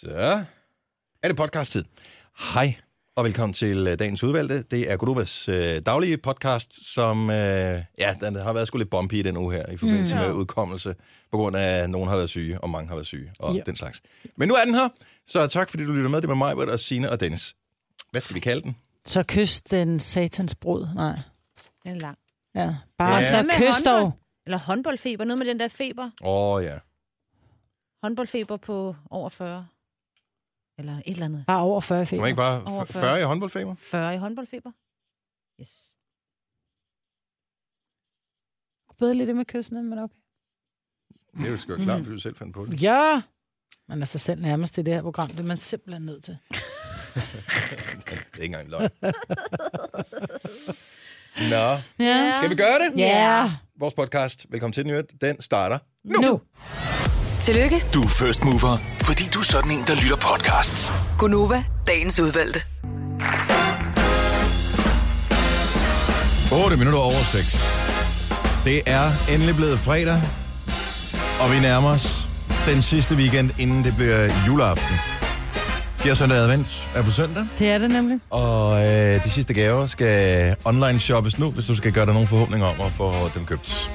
Så er det podcast-tid. Hej, og velkommen til øh, dagens udvalgte. Det er Godovas øh, daglige podcast, som øh, ja, den har været sgu lidt bumpy i den uge her, i forbindelse mm. med udkommelse, på grund af, at nogen har været syge, og mange har været syge, og Ja. den slags. Men nu er den her, så tak fordi du lytter med. Det er med mig, Britt, og Signe og Dennis. Hvad skal vi kalde den? Så kys den satans brud. Nej. Den er lang. Ja. Bare Ja. ja. Hvad så med kys dog. håndbold? Eller håndboldfeber. Noget med den der feber. Åh oh, ja. Håndboldfeber på over 40. Eller et eller andet. Bare over 40 Kan man feber. ikke bare Over 40, 40. 40 i håndboldfeber? 40 i håndboldfeber. Yes. Bedre lige det med kyssene, men okay. Det er jo sgu klart, fordi du selv fandt på det. Ja. Man er sig selv nærmest i det her program. Det er man simpelthen nødt til. Det er ikke engang løgn. Nå, Ja. skal vi gøre det? Ja. Vores podcast, velkommen til den, i øvrigt, den starter Nu. nu. Tillykke, Du er first mover, fordi du er sådan en, der lytter podcasts. Gunova, dagens udvalgte. 8 minutter over 6. Det er endelig blevet fredag, og vi nærmer os den sidste weekend, inden det bliver juleaften. Fjerde søndag advent er på søndag, Det er det nemlig. og øh, de sidste gaver skal online shoppes nu, hvis du skal gøre dig nogle forhåbninger om at få dem købt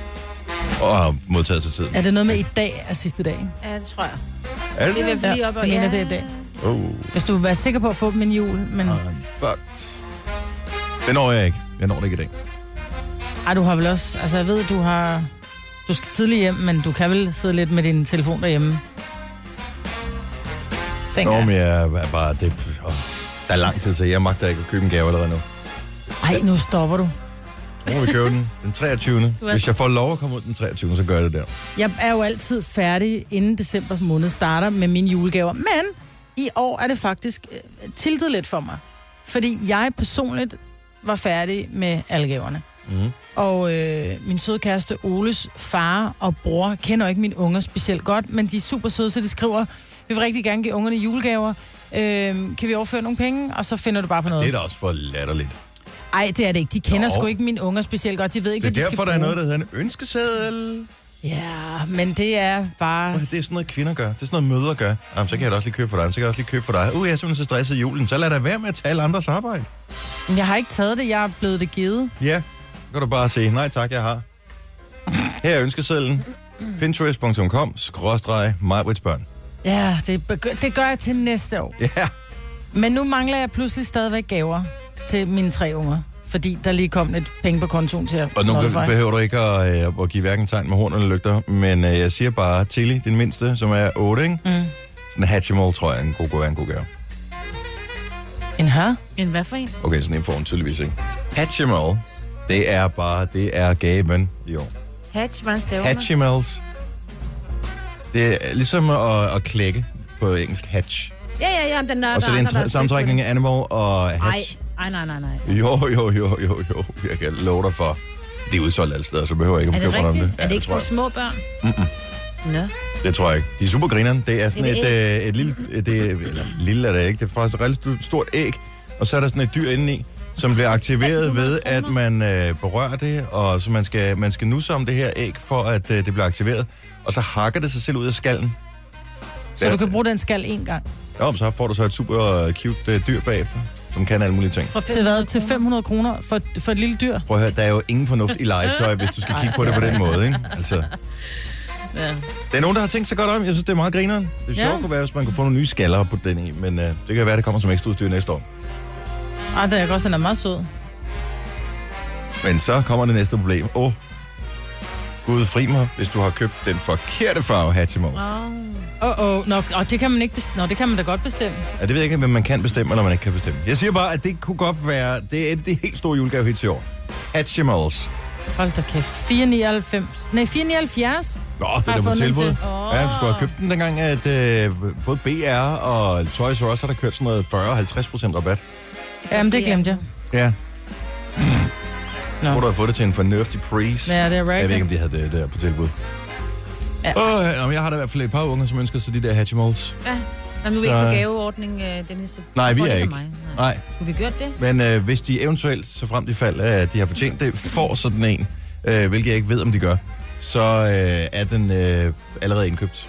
og modtaget til tiden. Er det noget med i dag er sidste dag? Ja, det tror jeg. Er Det det er i hvert det? fald lige op og... jeg mener, det er i dag. Oh, Hvis du vil være sikker på at få dem inden jul, men fucked. Det når jeg ikke. Jeg når det ikke i dag. ej, du har vel også... Altså, jeg ved, du har... Du skal tidligt hjem, men du kan vel sidde lidt med din telefon derhjemme. Tænker Nå, jeg. men jeg er bare... Det, åh, der er lang tid til, jeg magter ikke at købe en gave allerede nu. Ej, nu stopper du. Nu må vi købe den den 23. er Hvis jeg får lov at komme ud den 23., så gør jeg det der. Jeg er jo altid færdig, inden december måned starter med mine julegaver. Men i år er det faktisk øh, tiltet lidt for mig. Fordi jeg personligt var færdig med alle gaverne. Mhm. Og øh, min søde kæreste Oles far og bror kender jo ikke mine unger specielt godt, men de er super søde, så de skriver, vi vil rigtig gerne give ungerne julegaver. Øh, kan vi overføre nogle penge? Og så finder du bare på Det er noget. da også for latterligt. Nej, det er det ikke. De kender Nå. sgu ikke mine unger specielt godt. De ved ikke, Det er hvad de derfor, skal der er bruge. noget, der hedder en ønskeseddel. Ja, men det er bare... Og Det er sådan noget, kvinder gør. Det er sådan noget, mødre gør. Jamen, så kan jeg da også lige købe for dig. Så kan jeg også lige købe for dig. Uh, jeg er simpelthen så stresset i julen. Så lad da være med at tage alle andres arbejde. Men Jeg har ikke taget det, jeg er blevet det givet. Ja, så kan du bare sige, nej tak, jeg har. Her er ønskesedlen. Pinterest.com, skråstreg, børn. Ja, det, begy- det gør jeg til næste år. Ja, Men nu mangler jeg pludselig stadigvæk gaver til mine tre unger. Fordi der lige kom lidt penge på kontoen til at Og nu holde be- for. behøver du ikke at, øh, at give hverken tegn med horn eller lygter, men øh, jeg siger bare, Tilly, din mindste, som er 8, ikke? Mm. Sådan en Hatchimal, tror jeg, er en god, god, en god gave. En her? En hvad for en? Okay, sådan en får hun tydeligvis ikke. Hatchimal, det er bare, det er gaven i år. Hatch, man staver Hatchimals, det er ligesom at, at klække på engelsk hatch. Ja, ja, ja. men Den er, Og så er det en andre, der tr- sammentrækning af animal og Nej, hatch. nej, nej, nej, nej. Jo, jo, jo, jo, jo, jeg kan love dig for. Det er udsolgt alle steder, så behøver jeg ikke Er at det bekymre dig om rigtigt? det. er det ikke tror for jeg. små børn? Mm-mm. Nå. Det tror jeg ikke. De er super grineren. Det er sådan Et et, et, øh, et lille... øh, Det, er- eller lille er det ikke. Det er faktisk et relativt stort æg, og så er der sådan et dyr indeni, som bliver aktiveret ved, at man øh, berører det, og så man skal, man skal nusse om det her æg, for at øh, det bliver aktiveret. Og så hakker det sig selv ud af skallen. Så du kan bruge den skal en gang. Ja, og så får du så et super øh, cute øh, dyr bagefter, som kan alle mulige ting. Fra Til hvad? Til 500 kroner for, for et lille dyr? Prøv at høre, der er jo ingen fornuft i legetøj, hvis du skal kigge på det på den måde, ikke? Altså. Der er nogen, der har tænkt sig godt om. Jeg synes, det er meget grineren. Det sjovt Ja. kunne være, hvis man kunne få nogle nye skaller på den i, men øh, det kan være, det kommer som ekstra udstyr næste år. Ej, det er jeg godt, den er meget sød. Men så kommer det næste problem. Åh, oh. Gud fri mig, hvis du har købt den forkerte farve Hatchimov. Ja, Åh, oh, oh. Nå, og det kan man ikke bestemme. Nå, det kan man da godt bestemme. det ved jeg ikke, hvem man kan bestemme, eller man ikke kan bestemme. Jeg siger bare, at det kunne godt være, det er det helt store julegave helt i år. Hatchimals. Hold da kæft. 4,99. Nej, 4,79. Nå, det er jeg der på fundet en tilbud. til. Ja, du skulle have købt den dengang, at øh, både BR og Toys R Us har der kørt sådan noget 40-50% rabat. Jamen, det glemte jeg. Ja. Nå. Nå. Kunne du have fået det til en fornuftig pris? Ja, det er Jeg ved rigtigt. ikke, om de havde det der på tilbud. Ja. Ja. Åh, ja, men jeg har da i hvert fald et par unger, som ønsker sig de der Hatchimals. Ja. Jamen, nu er vi ikke Så- på gaveordning, øh, Dennis. så Nej, du vi får er det af ikke. Mig. Nej. Nej, Skulle vi gjort det? men øh, hvis de eventuelt, så frem de fald, at de har fortjent det, får sådan en, øh, hvilket jeg ikke ved, om de gør, så øh, er den øh, allerede indkøbt.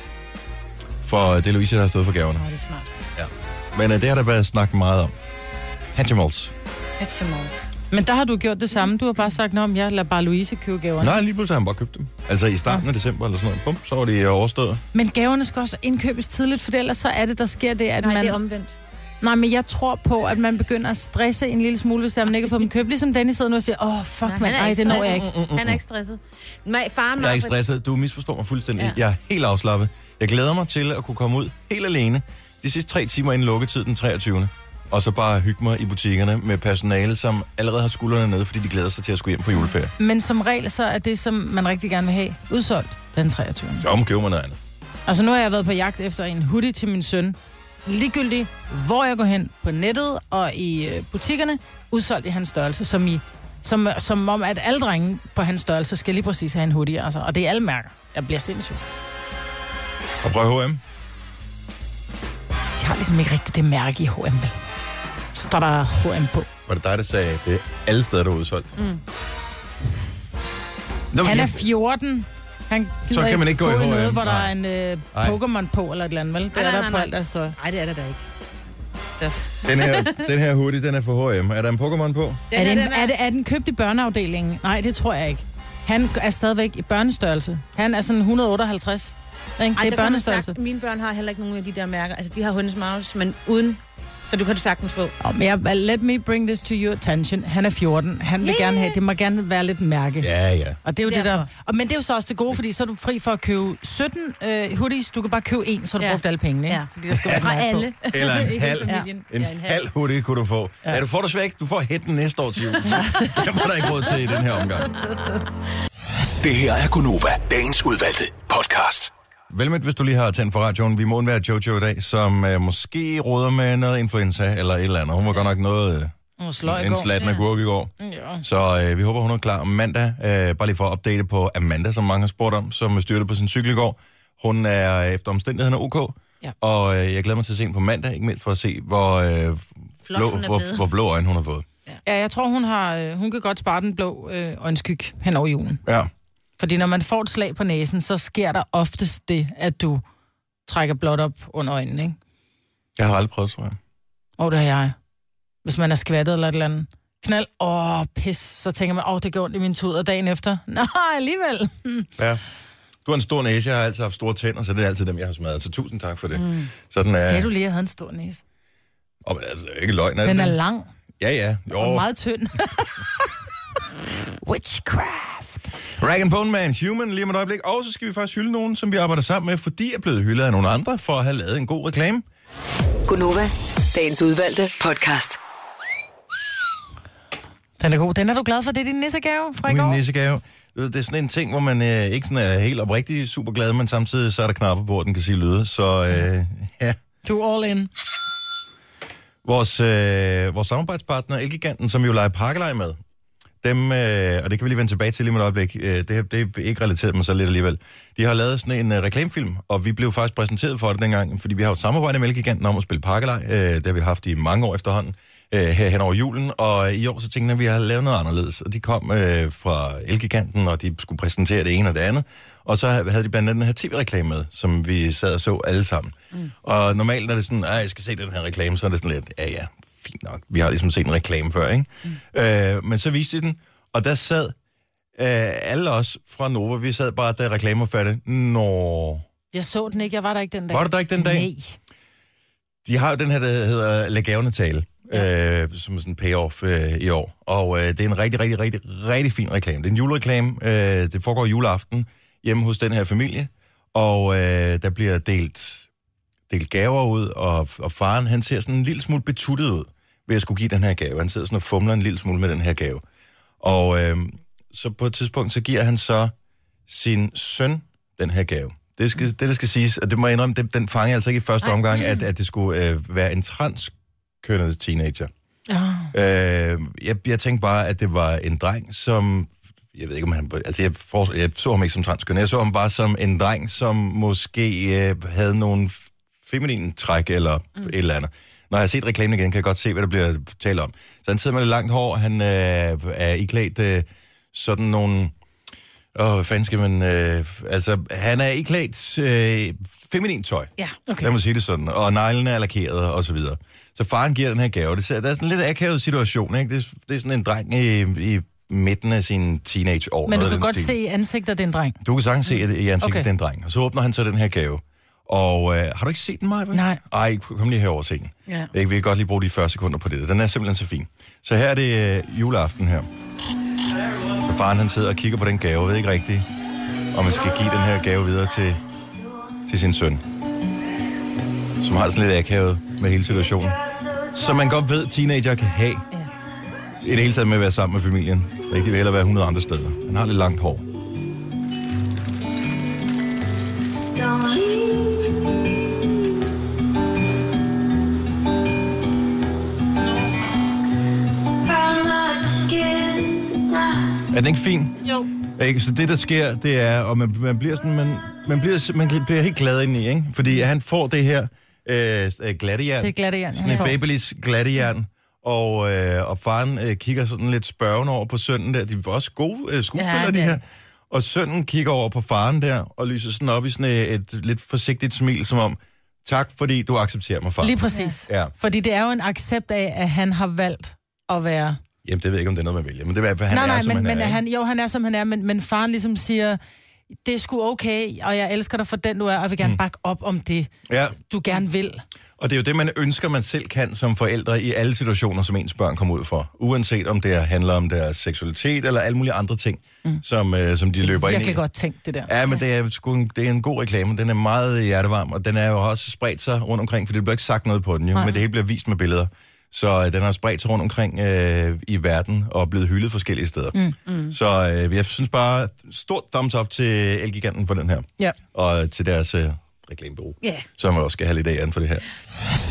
for det er Louise, der har stået for gaverne. Åh, det er smart. Men øh, det har der været snakket meget om. Hatchimals. Hatchimals. Men der har du gjort det samme. Du har bare sagt, om jeg lader bare Louise købe gaverne. Nej, lige pludselig har han bare købt dem. Altså i starten af december eller sådan noget. Bum, så var det øh, overstået. Men gaverne skal også indkøbes tidligt, for ellers så er det, der sker det, at Nej, man... det er omvendt. Nej, men jeg tror på, at man begynder at stresse en lille smule, hvis der man ikke har fået dem købt. Ligesom Dennis sidder nu og siger, åh, oh, fuck, Nej, mand, han er ej, ikke det når jeg stresset. Mm, ikke. Han er ikke stresset. Nej, far og Jeg er mig- ikke stresset. Du misforstår mig fuldstændig. Ja. Ja. Jeg er helt afslappet. Jeg glæder mig til at kunne komme ud helt alene de sidste tre timer inden lukketid den 23. Og så bare hygge mig i butikkerne med personale, som allerede har skuldrene nede, fordi de glæder sig til at skulle hjem på juleferie. Men som regel, så er det, som man rigtig gerne vil have, udsolgt den 23. Så omkøber mig noget andet. Altså nu har jeg været på jagt efter en hoodie til min søn. Ligegyldigt, hvor jeg går hen på nettet og i øh, butikkerne, udsolgt i hans størrelse, som, i, som, som om, at alle drenge på hans størrelse skal lige præcis have en hoodie. Altså. Og det er alle mærker. Jeg bliver sindssyg. Og prøv H&M. De har ligesom ikke rigtig det mærke i H&M, vel? Står der H&M på. Var det dig, der sagde, at det er alle steder, der er udsolgt? Mm. Nå, men Han er jeg- 14. Han gider kan man ikke gå i H&M, noget, hvor der nej. er en øh, Nej. Pokémon på eller et eller andet, vel? Det Nej, er nej, der nej, på nej. alt deres tøj. Nej, det er der da ikke. Stof. den, her, den her hoodie, den er for H&M. Er der en Pokémon på? er, Den her, det en, den er... Er, det, er den købt i børneafdelingen? Nej, det tror jeg ikke. Han er stadigvæk i børnestørrelse. Han er sådan 158. Ikke? Ej, det der er kan man børnestørrelse. sagt- Mine børn har heller ikke nogen af de der mærker. Altså, de har Hundes Mouse, men uden... Så du kan du sagtens få. Oh, men jeg, let me bring this to your attention. Han er 14. Han vil Ja, ja, gerne have, ja. det må gerne være lidt mærke. Ja, ja. Og det er jo det der. Derfor. Og, men det er jo så også det gode, fordi så er du fri for at købe 17 øh, hoodies. Du kan bare købe en, så har du Ja. ja. brugt alle pengene. Ikke? Ja. Fordi der skal være Fra mærke på. alle. Eller en I hele halv. familien. En, Ja, ja, en halv. halv hoodie kunne du få. Ja. ja du får det svært. Du får hætten næste år til jul. det var der ikke råd til i den her omgang. Det her er Gunova, dagens udvalgte podcast. Vel med, hvis du lige har tændt for radioen. Vi må undvære Jojo i dag, som øh, måske råder med noget influenza eller et eller andet. Hun var godt nok noget... Hun slår Øh, i en går. slatten af gurke i går. Ja. Så øh, vi håber, hun er klar om mandag. Øh, bare lige for at opdate på Amanda, som mange har spurgt om, som styrte på sin cykel i går. Hun er øh, efter omstændighederne OK. Ja. Og øh, jeg glæder mig til at se hende på mandag, ikke mindst for at se, hvor, øh, blå, hun er hvor, blevet. hvor blå øjne hun har fået. Ja, jeg tror, hun, har, øh, hun kan godt spare den blå øh, øjenskyg hen over julen. Ja. Fordi når man får et slag på næsen, så sker der oftest det, at du trækker blåt op under øjnene, ikke? Jeg har aldrig prøvet, tror jeg. Åh, det har jeg. Hvis man er skvattet eller et eller andet. Knald, åh, pis. Så tænker man, åh, det gjorde ondt i min tud, og dagen efter. Nej, alligevel. Ja. Du har en stor næse, jeg har altid haft store tænder, så det er altid dem, jeg har smadret. Så tusind tak for det. Mm. Sådan Ja. er... Sagde du lige, at jeg havde en stor næse? Åh, men altså, det er jo ikke løgn, er Den det er det? lang Ja, ja. Jo. og meget tynd. Witchcraft. Rag and Bone Man, Human, lige om et øjeblik. Og så skal vi faktisk hylde nogen, som vi arbejder sammen med, fordi er blevet hyldet af nogle andre for at have lavet en god reklame. Gunova, dagens udvalgte podcast. Den er god. Den er du glad for. Det er din nissegave fra i Min går. nissegave. Du ved, Det er sådan en ting, hvor man øh, ikke sådan er helt oprigtig super glad, men samtidig så er der knapper på, at den kan sige lyde. Så øh, ja. Du er all in. Vores, øh, vores samarbejdspartner, Elgiganten, som vi jo leger pakkelej med, dem, øh, og det kan vi lige vende tilbage til lige om et øjeblik, øh, det, her- det er ikke relateret, men så lidt alligevel. De har lavet sådan en øh, reklamefilm, og vi blev faktisk præsenteret for det dengang, fordi vi har jo et samarbejde med Elgiganten om at spille pakkelej. Øh, det har vi haft i mange år efterhånden, øh, her hen over julen, og øh, i år så tænkte jeg, at vi har lavet noget anderledes. Og de kom øh, fra Elgiganten, og de skulle præsentere det ene og det andet, og så havde de blandt andet den her tv-reklame med, som vi sad og så alle sammen. Mm. Og normalt er det sådan, at jeg skal se den her reklame, så er det sådan lidt, ja ja, fint nok, vi har ligesom set en reklame før, ikke? Mm. Øh, men så viste de den, og der sad øh, alle os fra Nova, vi sad bare, da reklamen var færdig. Nå, Jeg så den ikke. Jeg var der ikke den dag. var du der ikke den dag? Nej. De har jo den her, der hedder Lad gavene tale, øh, som er sådan en payoff øh, i år. Og øh, det er en rigtig, rigtig, rigtig, rigtig fin reklame. Det er en julereklame. Øh, det foregår juleaften hjemme hos den her familie. Og øh, der bliver delt, delt gaver ud, og, og faren han ser sådan en lille smule betuttet ud ved at skulle give den her gave. Han sidder sådan og fumler en lille smule med den her gave. Og øh, så på et tidspunkt, så giver han så sin søn den her gave. Det, skal, det, der skal siges, og det må jeg indrømme, det, den fanger jeg altså ikke i første omgang, at, at det skulle øh, være en transkønnet teenager. Øh, jeg, jeg tænkte bare, at det var en dreng, som... Jeg ved ikke, om han... Altså, jeg, for, jeg så ham ikke som transkønnet. Jeg så ham bare som en dreng, som måske øh, havde nogle f- feminine træk eller mm. et eller andet. Når jeg har set reklamen igen, kan jeg godt se, hvad der bliver talt om. Så han sidder med lidt langt hår. Han øh, er iklædt øh, sådan nogle Åh, hvad fanden skal man... Øh, altså, han er ikke klædt øh, feminint tøj. Ja. Okay. Lad mig sige det sådan. Og neglene er lakeret, og så videre. Så faren giver den her gave. Det, ser- der er sådan en lidt akavet situation, ikke? Det, er- det er sådan en dreng i, i midten af sin teenageår. Men noget du af kan den godt stil. se i ansigtet, den dreng. Du kan sagtens se at i ansigtet, Okay. okay. den dreng. Og så åbner han så den her gave. Og øh, har du ikke set den, Maja? Nej. Ej, kom lige herover og se den. Ja. Jeg vil godt lige bruge de 40 sekunder på det. Den er simpelthen så fin. Så her er det øh, juleaften her. Så faren han sidder og kigger på den gave, ved ikke rigtigt, om man skal give den her gave videre til, til sin søn. Som har det sådan lidt akavet med hele situationen. Så man godt ved, at teenager kan have Ja. i det hele taget med at være sammen med familien. Rigtig vil hellere være 100 andre steder. Han har lidt langt hår. Er den ikke fin? Jo. Ikke? Så det, der sker, det er, og man, man bliver sådan, man, man, bliver, sim- man bliver helt glad indeni, ikke? Fordi han får det her øh, s- øh, glattejern. Det er glatte jern, Sådan han et får. babylys glattejern. Og, øh, og faren øh, kigger sådan lidt spørgende over på sønnen der. De var også gode øh, skuespillere, Ja, ja, de ja. her. Og sønnen kigger over på faren der, og lyser sådan op i sådan et, et lidt forsigtigt smil, som om, tak fordi du accepterer mig, far. Lige præcis. Ja. Fordi det er jo en accept af, at han har valgt at være... Jamen, det ved jeg ikke, om det er noget, man vælger, men det er i hvert fald, han nej, er, nej, som men, han men er. ikke? han, jo, han er, som han er, men, men faren ligesom siger, det er sgu okay, og jeg elsker dig for den, du er, og jeg vil gerne bakke op om det, Mm. Ja, du gerne vil. Og det er jo det, man ønsker, man selv kan som forældre i alle situationer, som ens børn kommer ud for. Uanset om det handler om deres seksualitet eller alle mulige andre ting, mm. som, øh, som de løber ind i. Virkelig godt tænkt, det der. Ja, men det er, sgu en, det er en god reklame. Den er meget hjertevarm, og den er jo også spredt sig rundt omkring, for det bliver ikke sagt noget på den jo, men det hele bliver vist med billeder. Så øh, den har spredt sig rundt omkring øh, i verden og er blevet hyldet forskellige steder. Mm, mm. Så øh, jeg synes bare, stort thumbs up til Elgiganten for den her. Ja. Og til deres øh, reklamebureau, Ja. som også skal have lidt af æren for det her.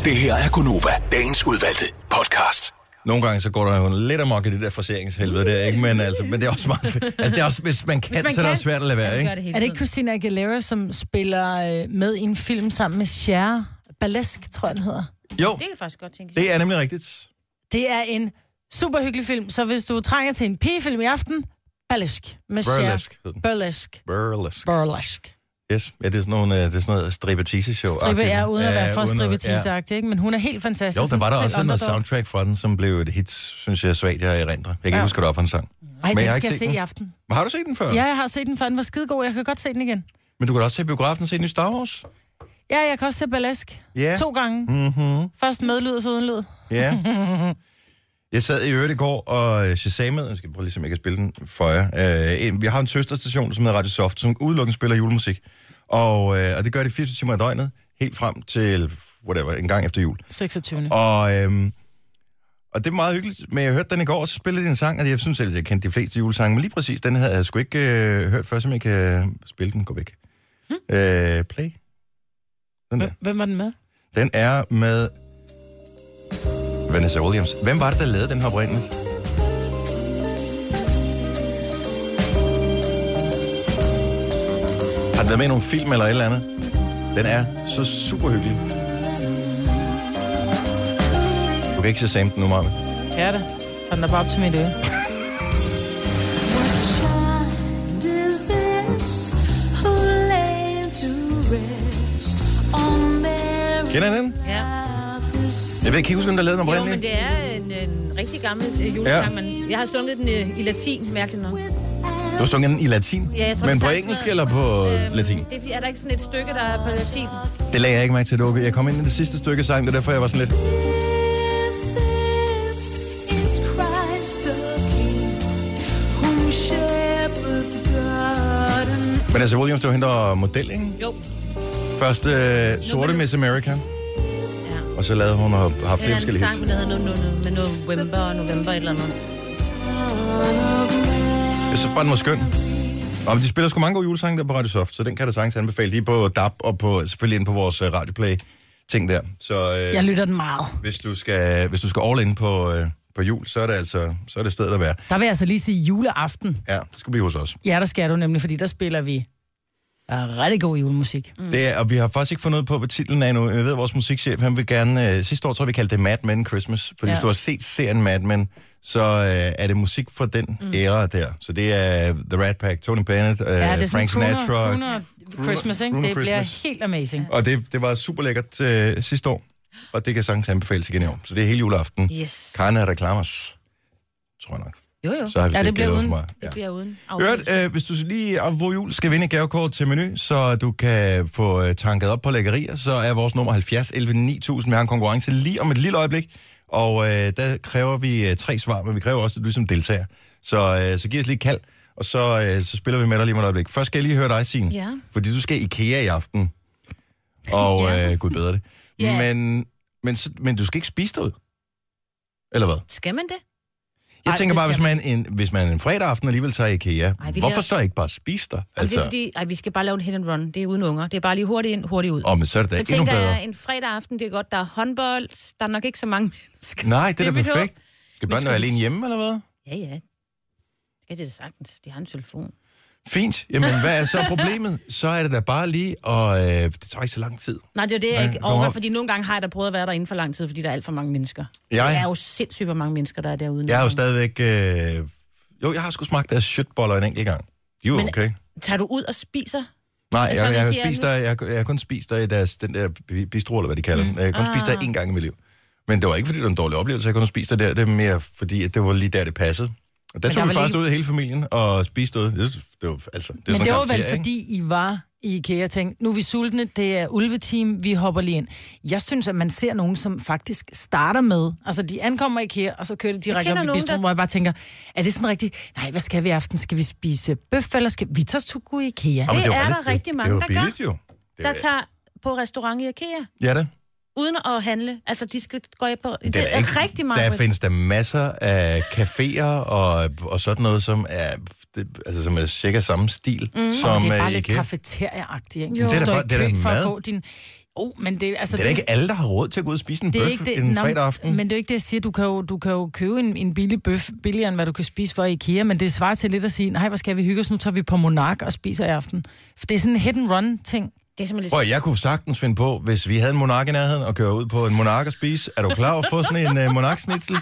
Det her er Gunova, dagens udvalgte podcast. Nogle gange så går der jo lidt amok i det der fraseringshelvede der, ikke? Men, altså, men det er også meget fedt. Altså, det er også, hvis man kan, hvis man så er det også svært at lade være, Det gør ikke? det hele Er det ikke Christina Aguilera, som spiller øh, med i en film sammen med Cher? Ballesk, tror jeg, den hedder. Jo, Det kan jeg faktisk godt tænke. det er nemlig rigtigt. Det er en super hyggelig film, så hvis du trænger til en pigefilm i aften, Ballesk med Cher. Burlesk hed den. Burlesk. Burlesk. Burlesk. Yes, ja, det er sådan, nogle, øh, det er sådan noget stripetise-show. Stribe er uden at være for Ja. stripetise ikke? men hun er helt fantastisk. Jo, der var der Sådan også total noget underdog. soundtrack fra den, som blev et hit, synes jeg, svagt, jeg erindrer. Jeg kan ikke Ja. huske, hvad det var for en sang. Ej, Men jeg den har skal ikke jeg set se den. i aften. Men har du set den før? Ja, jeg har set den før. Den var skidegod. Jeg kan godt se den igen. Men du kan da også se i biografen og se den nye Star Wars. Ja, jeg kan også se Ballesk. Ja. To gange. Mm-hmm. Først med lyd og så uden lyd. Ja. Jeg sad i øvrigt i går og øh, shazamede, jeg skal prøve lige, om jeg kan spille den for jer. Øh, en- vi har en søsterstation, som hedder Radio Soft, som udelukkende spiller julemusik. Og, øh, og det gør det 24 timer i døgnet, helt frem til, whatever, en gang efter jul. 26. Og, øhm, og det er meget hyggeligt, men jeg hørte den i går, og så spillede de en sang, og jeg synes selv, at jeg kendte de fleste julesange, men lige præcis den havde jeg sgu ikke øh, hørt før, så jeg kan øh, spille den. Gå væk. Hmm. Øh, play. Den der. Hvem- Hvem var den med? Den er med Vanessa Williams. Hvem var det, der lavede den her oprindeligt? Har den været med i nogle film eller et eller andet? Den er så super hyggelig. Du kan ikke se Sam den nu, Marvin. Ja, det. Og den er bare op til mit øre. Kender I den? Ja. Jeg ved ikke, kan I huske, hvem der lavede den Jo, men oprindeligt? det er en, en rigtig gammel øh, julesang, Ja. ja. men jeg har sunget den øh, i latin, mærkeligt nok. Du har sunget den i latin, Ja, jeg tror, men det på er sådan engelsk noget- eller på Øhm, latin? Det er, fordi, er der ikke sådan et stykke, der er på latin? Det lagde jeg ikke mærke til, Dukke. Jeg kom ind i det sidste stykke sang, det er derfor, jeg var sådan lidt... Men altså, Williams, det var hende, der var model, ikke? Jo. Først øh, sorte Miss America, Ja. og så lavede hun og har Det flere er en forskellige sang, hits. men der hedder no, no, no, med november og november et eller andet. Jeg synes bare, den var skøn. Og de spiller sgu mange gode julesange der på Radio Soft, så den kan du sagtens anbefale. Lige på DAB og på, selvfølgelig ind på vores uh, radioplay ting der. Så øh, Jeg lytter den meget. hvis, du skal, hvis du skal all in på, øh, på jul, så er det altså så er det stedet at være. Der vil jeg altså lige sige juleaften. Ja, det skal blive hos os. Ja, der skal du nemlig, fordi der spiller vi Der er rigtig god julemusik. Mm. Det er, og vi har faktisk ikke fundet ud på, hvad titlen er endnu. Jeg ved, at vores musikchef, han vil gerne... Øh, sidste år tror jeg, vi kaldte det Mad Men Christmas. Fordi ja. Ja. hvis du har set serien Mad Men, så øh, er det musik fra den mm. æra der. Så det er The Rat Pack, Tony Bennett, øh, Ja, det er sådan Frank Sinatra. Crooner, Crooner Christmas, ikke? Crooner Det bliver Christmas. helt amazing. Og det, det var super lækkert øh, sidste år. Og det kan sagtens anbefales igen i år. Så det er hele juleaften. Yes. Karen er reklamers. Tror jeg nok. Jo, jo. Så har vi Ja, ja, det det bliver gældet for uden. mig. Det bliver uden Hørt, øh, hvis du lige hvor jul skal vinde et gavekort til menu, så du kan få øh, tanket op på lækkerier, så er vores nummer 70 11 9000. Vi har en konkurrence lige om et lille øjeblik, og øh, der kræver vi øh, tre svar, men vi kræver også, at du som deltager. Så, øh, så giv os lige et kald, og så, øh, så spiller vi med dig lige om et øjeblik. Først skal jeg lige høre dig, Signe, Ja. fordi du skal i IKEA i aften. Og Ja. øh, gud bedre det. Ja. Men, men, så- men du skal ikke spise derude. Eller hvad? Skal man det? Jeg Ej, Ej, tænker det bare, hvis skal man, en, hvis man en fredag aften alligevel tager i IKEA, Ej, Ej, vi hvorfor laver- så ikke bare spise der? Altså... Det Altså, er fordi, ej, vi skal bare lave en hit and run. Det er uden unger. Det er bare lige hurtigt ind, hurtigt ud. åh, men så er det da Jeg endnu tænker, bedre. jeg, en fredag aften, det er godt, der er håndbold. Der er nok ikke så mange mennesker. Nej, det, Det er er da mit perfekt. Skal Men børnene skal være vi- alene hjemme, eller hvad? Ja, ja. Ja, det er det sagtens. De har en telefon. Fint. Jamen, hvad er så problemet? Så er det da bare lige, og øh, det tager ikke så lang tid. Nej, det er jo det, jeg Ja, ikke kom overgår, op. fordi nogle gange har jeg da prøvet at være derinde for lang tid, fordi der er alt for mange mennesker. Jeg- Der er jo sindssygt, hvor mange mennesker, der er derude. Jeg har jo stadigvæk... Øh, jo, jeg har sgu smagt deres shitboller en enkelt gang. Jo, Men- okay. Tager du ud og spiser? Nej, jeg, Altså, jeg, vi jeg, har siger, spist nu- der, jeg, jeg har kun spist der i deres, den der bi- bistro, eller hvad de kalder den. Jeg har kun ah. spist der en gang i mit liv. Men det var ikke, fordi det var en dårlig oplevelse, jeg kun spiste der. Det er mere, fordi at det var lige der, det passede. Og der der tog er vi vel faktisk ikke- ud hele familien og spiste ud. Det, det var, altså, det er sådan Men det en var vel cafeteria, ikke? fordi, I var i IKEA og tænkte, nu er vi sultne, det er ulveteam, vi hopper lige ind. Jeg synes, at man ser nogen, som faktisk starter med, altså de ankommer i IKEA, og så kører de direkte kender op i nogen, bistro, der- hvor jeg bare tænker, er det sådan rigtigt? Nej, hvad skal vi i aften? Skal vi spise bøf, eller skal vi tage sugu i IKEA? men Det var er lidt- der rigtig det mange, var der gør. billigt, Jo. Det Der var, tager på restaurant i IKEA, ja, det. uden at handle. Altså, de skal gå på... Det, da er, ikke- rigtig meget. Der findes der masser af caféer og, og sådan noget, som er, det, altså, som er cirka samme stil mm. som det er øh, bare lidt IKEA. kafeteria-agtigt, ikke? Jo. Det er da Du står bare- i det er da kø for mad. at få din... Oh, men det, altså, Det er da ikke alle, der har råd til at gå ud og spise en det er bøf ikke det, en Nå, fredag aften. Men det er jo ikke det, jeg siger. Du kan jo, du kan jo købe en, en billig bøf billigere, end hvad du kan spise for i IKEA, men det svarer til lidt at sige, nej, hvor skal vi hygge os, nu tager vi på Monark og spiser i aften. For det er sådan en hit and run ting. Det er simpelthen Prøv, at, jeg kunne sagtens finde på, hvis vi havde en monark i nærheden, og køre ud på en monark og spise. Er du klar over at få sådan en uh, monarksnitzel?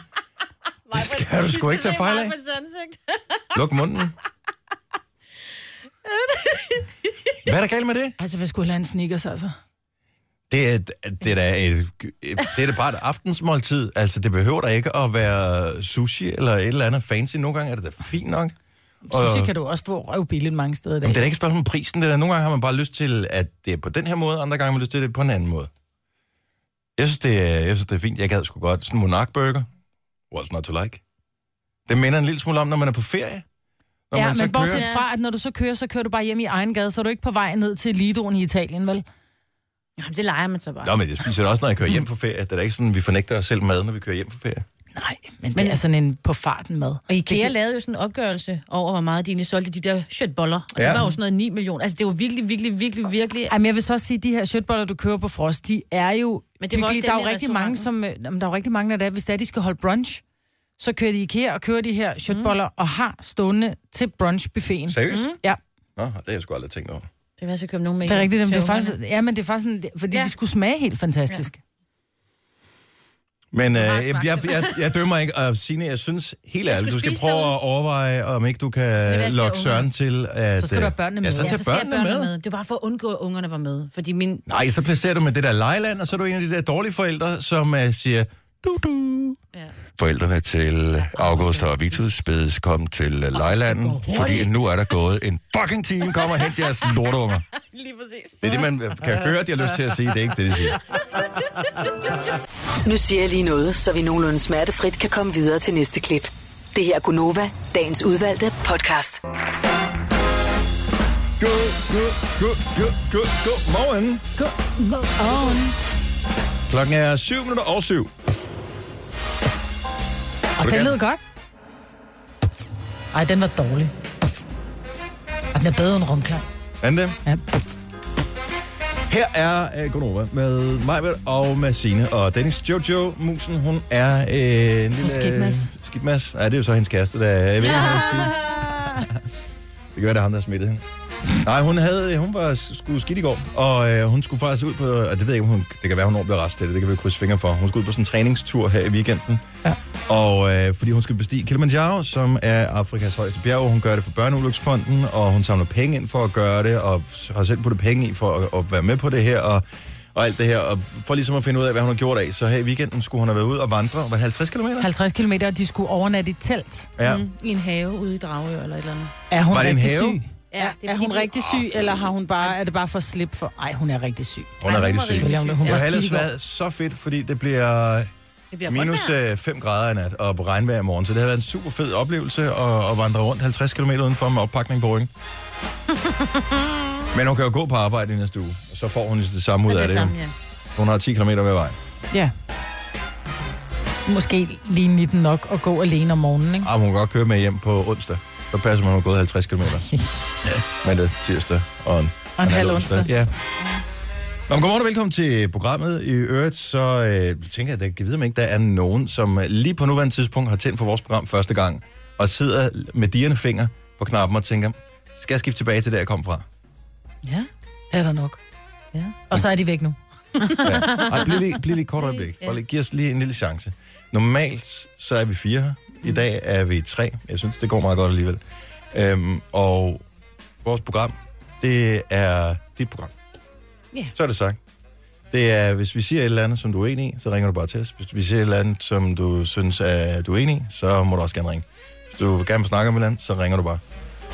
Det skal du sgu ikke tage fejl af. Luk munden. Hvad er der galt med det? Altså, hvad skulle jeg have en sneakers, altså? Det er, det er da et, et- det er da bare et aftensmåltid. Altså, det behøver da ikke at være sushi eller et eller andet fancy. Nogle gange er det da fint nok. Og- Sushi kan du også få røvbilligt mange steder i dag. Jamen, det er da ikke et spørgsmål om prisen. Det er da, nogle gange har man bare lyst til, at det er på den her måde, andre gange har man lyst til, at det er på en anden måde. Jeg synes, det er, jeg synes, det er fint. Jeg gad sgu godt. Sådan en monarkburger. What's not to like? Det minder en lille smule om, når man er på ferie. Når ja, man så men kører. bortset fra, at når du så kører, så kører du bare hjem i egen gade, så er du ikke på vej ned til Lidoen i Italien, vel? Jamen, det leger man så bare. Nå, men jeg spiser det også, når jeg kører hjem på ferie. Det er da ikke sådan, vi fornægter os selv mad, når vi kører hjem på ferie. Nej, men, men det er sådan en på farten mad. Og IKEA lavede jo sådan en opgørelse over, hvor meget de egentlig solgte de der shirtboller. Og ja. Ja. det var jo sådan noget 9 millioner. Altså, det var virkelig, virkelig, virkelig, virkelig... Ej, men jeg vil så også sige, at de her shirtboller, du kører på frost, de er jo... Men det var virkelig- der også er dem jo i rigtig mange, som, øh, jamen, der er jo rigtig mange, der er, hvis det er, de skal holde brunch, så kører de i IKEA og kører de her shirtboller mm. og har stående til brunchbuffeten. Mhm. Seriøst? Mm. Ja, Nå, det har jeg sgu aldrig tænkt over. Det kan være, så købe nogen med det er hjem rigtigt. Jamen, til det er ungerne. faktisk, ja, men det er faktisk sådan, det- fordi Ja. ja. de skulle smage helt fantastisk. Ja. Men øh, har jeg, jeg smagt jeg, det. jeg, jeg dømmer ikke, og Signe, jeg synes helt ærligt, skulle du skal spise prøve derude. at overveje, om ikke du være, kan jeg skal lokke have Søren til, at... Så skal du øh, have børnene Ja, med. så Ja, tag så skal jeg børnene med. Det er bare for at undgå, at ungerne var med. Fordi min... Nej, så placerer du med det der lejeland, og så er du en af de der dårlige forældre, som uh, siger, du du. Ja. Forældrene til August og Vitus spedes kom til uh, lejelanden, fordi nu er der gået en fucking time, kom og hent jeres lortunger. Lige præcis. Det er det, man øh, kan høre, at de har lyst til at sige, det er ikke det, de siger. Nu siger jeg lige noget, så vi nogenlunde smertefrit kan komme videre til næste klip. Det her er Gunova, dagens udvalgte podcast. God, god, god, god, god, god morgen. Klokken er 7 minutter over syv. Og du det gerne? lød godt. Ej, den var dårlig. Og den er bedre end rumklang. Anden dem. Ja. Her er uh, Gonova med Majbert og med Signe. Og Dennis Jojo Musen, hun er øh, en lille... skidtmas. Skidmas. Ja, det er jo så hendes kæreste, der... Jeg ved, ikke, om hun er skidt. Det kan være, det er ham, der har smittet hende. Nej, hun, havde, hun var sgu skidt i går, og øh, hun skulle faktisk ud på, og det ved jeg ikke, om hun, det kan være, hun når bliver rest til det, det kan vi krydse fingre for. Hun skulle ud på sådan en træningstur her i weekenden, Ja. og øh, fordi hun skal bestige Kilimanjaro, som er Afrikas højeste bjerg, hun gør det for Børneulyksfonden, og hun samler penge ind for at gøre det, og har selv puttet penge i for at, at være med på det her, og, og alt det her, og for ligesom at finde ud af, hvad hun har gjort af, så her i weekenden skulle hun have været ude og vandre, var det 50 km? 50 km, og de skulle overnatte i et telt. Ja. Mm, I en have ude i Dragør eller et eller andet. Er hun Var det en rigtig have? syg? Ja, er, er hun rigtig syg, eller har hun bare, er det bare for at slippe for... Ej, hun er rigtig syg. Hun er rigtig syg. Selvfølgelig, er hun, det. hun Det var har skidt i ellers går. været så fedt, fordi det bliver Det bliver minus øh, godt vejr. 5 grader i nat og på regnvejr i morgen. Så det har været en super fed oplevelse at, at vandre rundt 50 km udenfor med oppakning på ryggen. Men hun kan jo gå på arbejde i næste uge, og så får hun det samme ud Men af det. det jo. samme, ja. Hun har 10 km hver vej. Ja. Måske lige 19 nok at gå alene om morgenen, ikke? Ah, hun kan godt køre med hjem på onsdag. Så passer man, at hun har gået 50 km. Mandag, tirsdag og en, Og en halv onsdag. Ja. Nå, men godmorgen og velkommen til programmet. I øvrigt, så øh, tænker jeg, at jeg ved, om ikke der er nogen, som øh, lige på nuværende tidspunkt har tændt for vores program første gang, og sidder med dirrende fingre på knappen og tænker, skal jeg skifte tilbage til, der jeg kom fra? ja. Det er der nok. Ja. Og så er de væk nu. Ja. Ej, bliv lige, bliv lige et kort øjeblik. Bare lige, giv os lige en lille chance. Normalt, så er vi fire her. I dag er vi tre. Jeg synes, det går meget godt alligevel. Øhm, og vores program, det er dit program. Ja. Så er det sagt. Det er, hvis vi siger et eller andet, som du er enig i, så ringer du bare til os. Hvis vi siger et eller andet, som du synes, er, du er enig i, så må du også gerne ringe. Hvis du gerne vil snakke om et eller andet, så ringer du bare.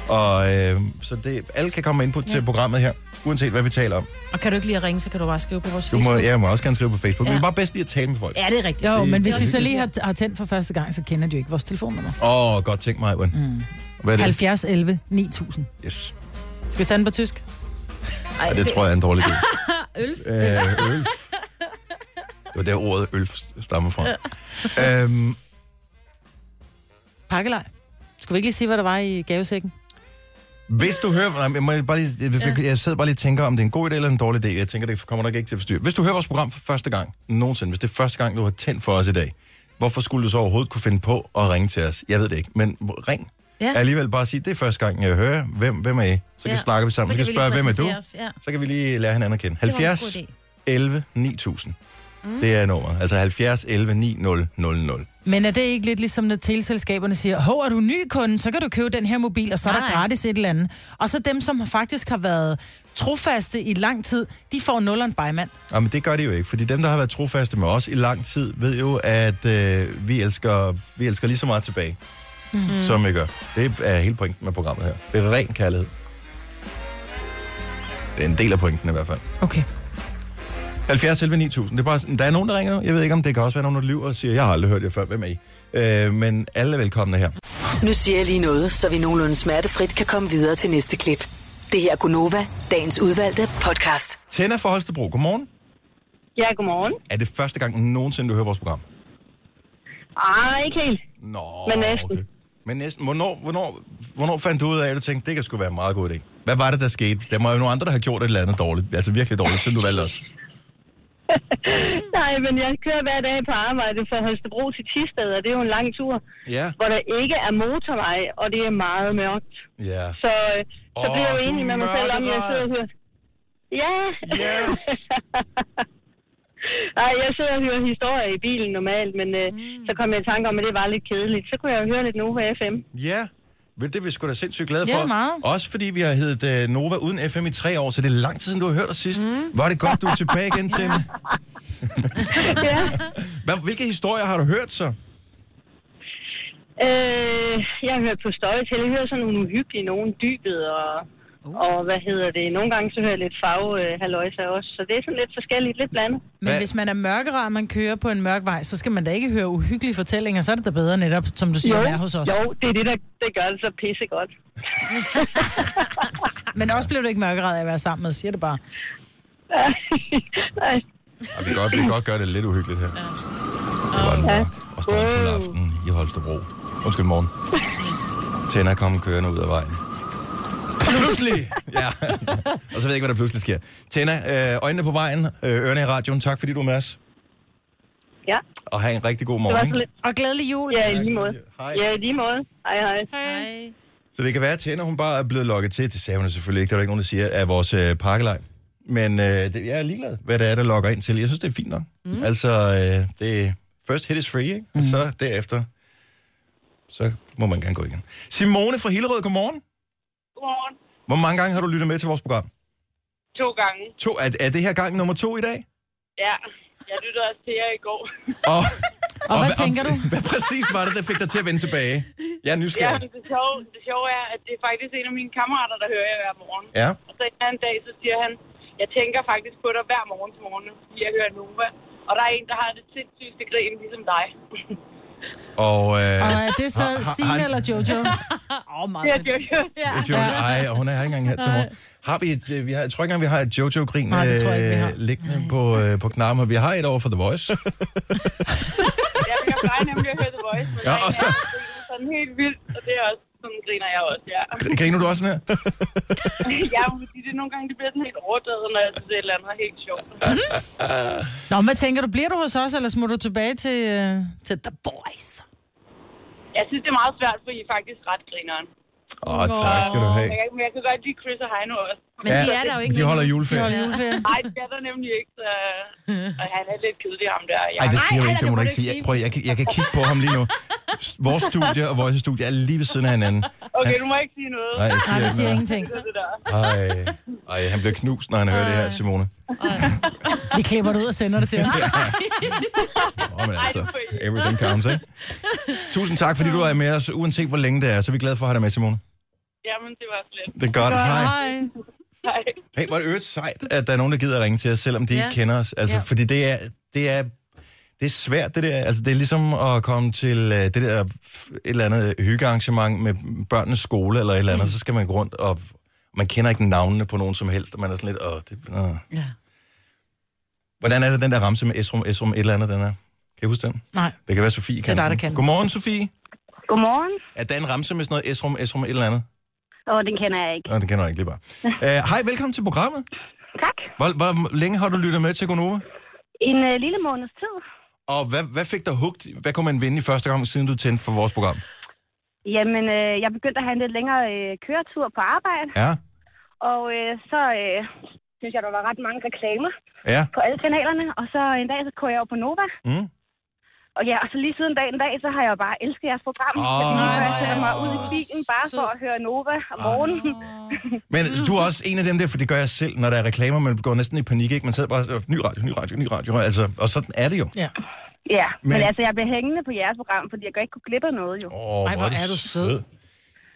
Og øh, så det, alle kan komme med input ja. til programmet her, uanset hvad vi taler om. Og kan du ikke lige at ringe, så kan du bare skrive på vores Du må, Facebook. ja, jeg må også gerne skrive på Facebook. Ja. Ja. Men bare bedst lige at tale med folk. Ja, det er rigtigt. Jo, Det- men hvis det er de så lige har, har tændt for første gang, så kender de jo ikke vores telefonnummer. Åh, oh, godt tænkt mig, Ewan. Mm. Hvad er det? 70 11 9000. Yes. Skal vi tage den på tysk? Ej, Ja, det tror jeg er en dårlig idé. Ølf. Øh, øl. Det var der ordet øl stammer fra. øhm, Pakkelej. Skulle vi ikke lige sige, hvad der var i gavesækken? hvis du hører... Nej, men jeg, må bare lige, jeg, jeg sidder bare lige og tænker, om det er en god idé eller en dårlig idé. Jeg tænker, det kommer nok ikke til at forstyrre. Hvis du hører vores program for første gang nogensinde, hvis det er første gang, du har tændt for os i dag, hvorfor skulle du så overhovedet kunne finde på at ringe til os? Jeg ved det ikke, men ring. Ja. Alligevel bare sige, det er første gang, jeg hører. Hvem, hvem er I? Så kan vi Ja. snakke vi sammen. Så kan vi lige spørge, hvem er du? præsentere os. Ja. så kan vi lige lære hinanden at kende. Det var en god 70 idé. 11 9000. Mm. Det er nummeret. Altså 70 11 9000. Men er det ikke lidt ligesom, når teleselskaberne siger, hov, er du ny kunde, så kan du købe den her mobil, og så er der Nej. gratis et eller andet. Og så dem, som faktisk har været trofaste i lang tid, de får nulleren bymand. Jamen, det gør det jo ikke, fordi dem, der har været trofaste med os i lang tid, ved jo, at øh, vi, elsker, vi elsker lige så meget tilbage, mm. som vi gør. Det er hele pointen med programmet her. Det er ren kærlighed. Det er en del af pointen i hvert fald. Okay. 70 11 9000. Det er bare sådan, der er nogen, der ringer nu. Jeg ved ikke, om det kan også være nogen, der lyver og siger, jeg har aldrig hørt jer før. Hvem er I? Øh, men alle er velkomne her. Nu siger jeg lige noget, så vi nogenlunde smertefrit kan komme videre til næste klip. Det her er Gunova, dagens udvalgte podcast. Tænder for Holstebro. Godmorgen. Ja, godmorgen. Er det første gang nogensinde, du hører vores program? Ah, ikke helt. Nå, Men næsten. Men næsten. Hvornår, hvornår, hvornår fandt du ud af, at du tænkte, det kan sgu være en meget god idé? Hvad var det, der skete? Der må jo nogle andre, der har gjort et eller andet dårligt. Altså virkelig dårligt, siden du valgte os. Nej, men jeg kører hver dag på arbejde fra Holstebro til Tisted, og det er jo en lang tur, Ja. hvor der ikke er motorvej, og det er meget mørkt. Ja. Så, øh, så Åh, bliver jeg jo du enig med mig selv, om jeg mørkeræd. sidder og hører... Ja. Ja. Nej, jeg sidder og hører historier i bilen normalt, men øh, mm. så kom jeg i tanke om, at det var lidt kedeligt. Så kunne jeg jo høre lidt Nova FM. Ja. Men det er vi sgu da sindssygt glade for. Ja, meget. Også fordi vi har heddet øh, Nova uden FM i tre år, så det er lang tid siden, du har hørt os sidst. Mm. Var det godt, du er tilbage igen, Tine? ja. Hvad, hvilke historier har du hørt så? Øh, jeg har hørt på støj til. Jeg hører sådan nogle uhyggelige nogen, dybet og... Uh. Og hvad hedder det? Nogle gange så hører jeg lidt farve øh, halløjsa også, så det er sådan lidt forskelligt, lidt blandet. Men Hvad- Hvad? hvis man er mørkere, og man kører på en mørk vej, så skal man da ikke høre uhyggelige fortællinger, så er det da bedre netop, som du siger, at være hos os. jo, det er det, der det gør det så pissegodt. Men også blev du ikke mørkeret af at være sammen med, siger det bare. Nej, Og vi kan godt, vi kan godt gøre det lidt uhyggeligt her. Ja. Det var en mørk og stormfuld aften i Holstebro. Undskyld, morgen. Tænder kom kørende ud af vejen. Pludselig! Ja. og så ved jeg ikke, hvad der pludselig sker. Tænder, øh, øjnene på vejen, øh, ørerne i radioen. Tak fordi du er med os. ja, Og have en rigtig god det var morgen. så lidt. Og glædelig jul. Ja, i lige måde. Hej. Ja, i lige måde. Hej, hej. Hej. Så det kan være, at Tjena, hun bare er blevet lukket til. Det sagde hun jo selvfølgelig ikke. Der er der ikke nogen, der siger, af vores øh, pakkelej. Men øh, det, jeg er ligeglad, hvad det er, der lokker ind til. Jeg synes, det er fint nok. Mm. Altså, øh, det er first hit is free, ikke? Mm. så derefter, så må man gerne gå igen. Simone fra Hillerød, godmorgen. Godmorgen. Hvor mange gange har du lyttet med til vores program? To gange. To, er, er det her gang nummer to i dag? Ja. Jeg lyttede også til jer i går. Og, Og hvad tænker du? Hvad præcis var det, der fik dig til at vende tilbage? Jeg er Ja, nysgerrig. men det sjove, det sjove er, at det er faktisk en af mine kammerater, der hører jer hver morgen. Ja. Og så en anden dag, så siger han, jeg tænker faktisk på dig hver morgen til morgen, fordi jeg hører Nova. Og der er en, der har det sindssygeste grin, ligesom dig. Og, Og øh, er det så Har- har- Signe har- eller Jojo? Åh, oh, meget. Det er fedt. Jojo. Ja. Jo, nej, og hun er her ikke engang her til morgen. Har vi et, øh, vi har, jeg tror ikke engang, vi har et Jojo-grin Nej, det tror jeg ikke, vi øh, har. liggende på, øh, på knappen, og vi har et over for The Voice. Ja, men jeg plejer nemlig at høre The Voice, men Ja, ja, og så- sådan helt vildt, og det er også, sådan griner jeg også, ja. Griner du også sådan her? Ja, men fordi det er nogle gange, det bliver sådan helt overdrevet, når jeg synes, det er et eller andet er helt sjovt. Nå, men hvad tænker du? Bliver du hos os, eller smutter du tilbage til, øh, til The Boys? Jeg synes, det er meget svært, fordi I er faktisk ret grineren. Åh, oh, tak skal du have. Men jeg, men jeg kan godt lide Chris og Heino også. Men de er der jo ikke de holder længere. Vi holder juleferie. juleferie. Nej, det er der nemlig ikke, så... Og han er lidt kedelig, ham der. Jeg, Nej, det siger du Ej, ej, ikke, det det må du ikke må du ikke sige. Jeg, sige. prøv, jeg, kan- jeg kan kigge på ham lige nu. S- Vores studie og vores studie er lige ved siden af hinanden. Okay, du må ikke sige noget. Nej, jeg Nej, siger vi siger ikke ingenting. Det der. noget. Ej, ej, han bliver knust, når han hører det her, Simone. Vi klipper det ud og sender det til ham. Åh, men altså, Ej, det er everything counts, ikke? Tusind tak, fordi du er med os, uanset hvor længe det er. Så er vi glade for at have dig med, Simone. Jamen, det var slet. Det er godt. Hej. Nej. Hey, hvor er det øvrigt sejt, at der er nogen, der gider at ringe til os, selvom de ja. Ja. ikke kender os. Altså, ja. Ja. fordi det er, det er, det er svært, det der. Altså, det er ligesom at komme til øh, det der f- et eller andet hyggearrangement med børnenes skole eller et eller andet, mm. så skal man gå rundt, og man kender ikke navnene på nogen som helst, og man er sådan lidt, åh, det, åh. Ja. Hvordan er det, den der ramse med Esrum, Esrum, et eller andet, den er? Kan I huske den? Nej. Det kan være, Sofie kan dig, den. der kan den. Godmorgen, Sofie. Godmorgen. Er der en ramse med sådan noget Esrum, Esrum, et eller andet? Åh, den kender jeg ikke. Nå, den kender jeg ikke lige bare. Øh, Hej, velkommen til programmet. Tak. Hvor, hvor længe har du lyttet med til Gonova? En øh, lille måneds tid. Og hvad, hvad fik dig hugt? Hvad kunne man vinde i første gang, siden du tændte for vores program? Jamen, øh, jeg begyndte at have en lidt længere øh, køretur på arbejde, Ja, og øh, så øh, synes jeg, der var ret mange reklamer ja. på alle kanalerne, og så en dag, så kunne jeg jo på Nova. Mm. Og ja, og så lige siden dagen dag, så har jeg jo bare elsket jeres program. Åh. Oh, jeg sætter mig ud i bilen bare for at høre Nova Ah. om morgenen. Men Mm. du er også en af dem der, for det gør jeg selv, når der er reklamer, man går næsten i panik, ikke? Man sidder bare, og siger, ny radio, ny radio, ny radio, altså, og sådan er det jo. Ja. Ja, men, men Men- altså, jeg bliver hængende på jeres program, fordi jeg kan ikke kunne glippe af noget, jo. Åh, Ej, hvor er du sød.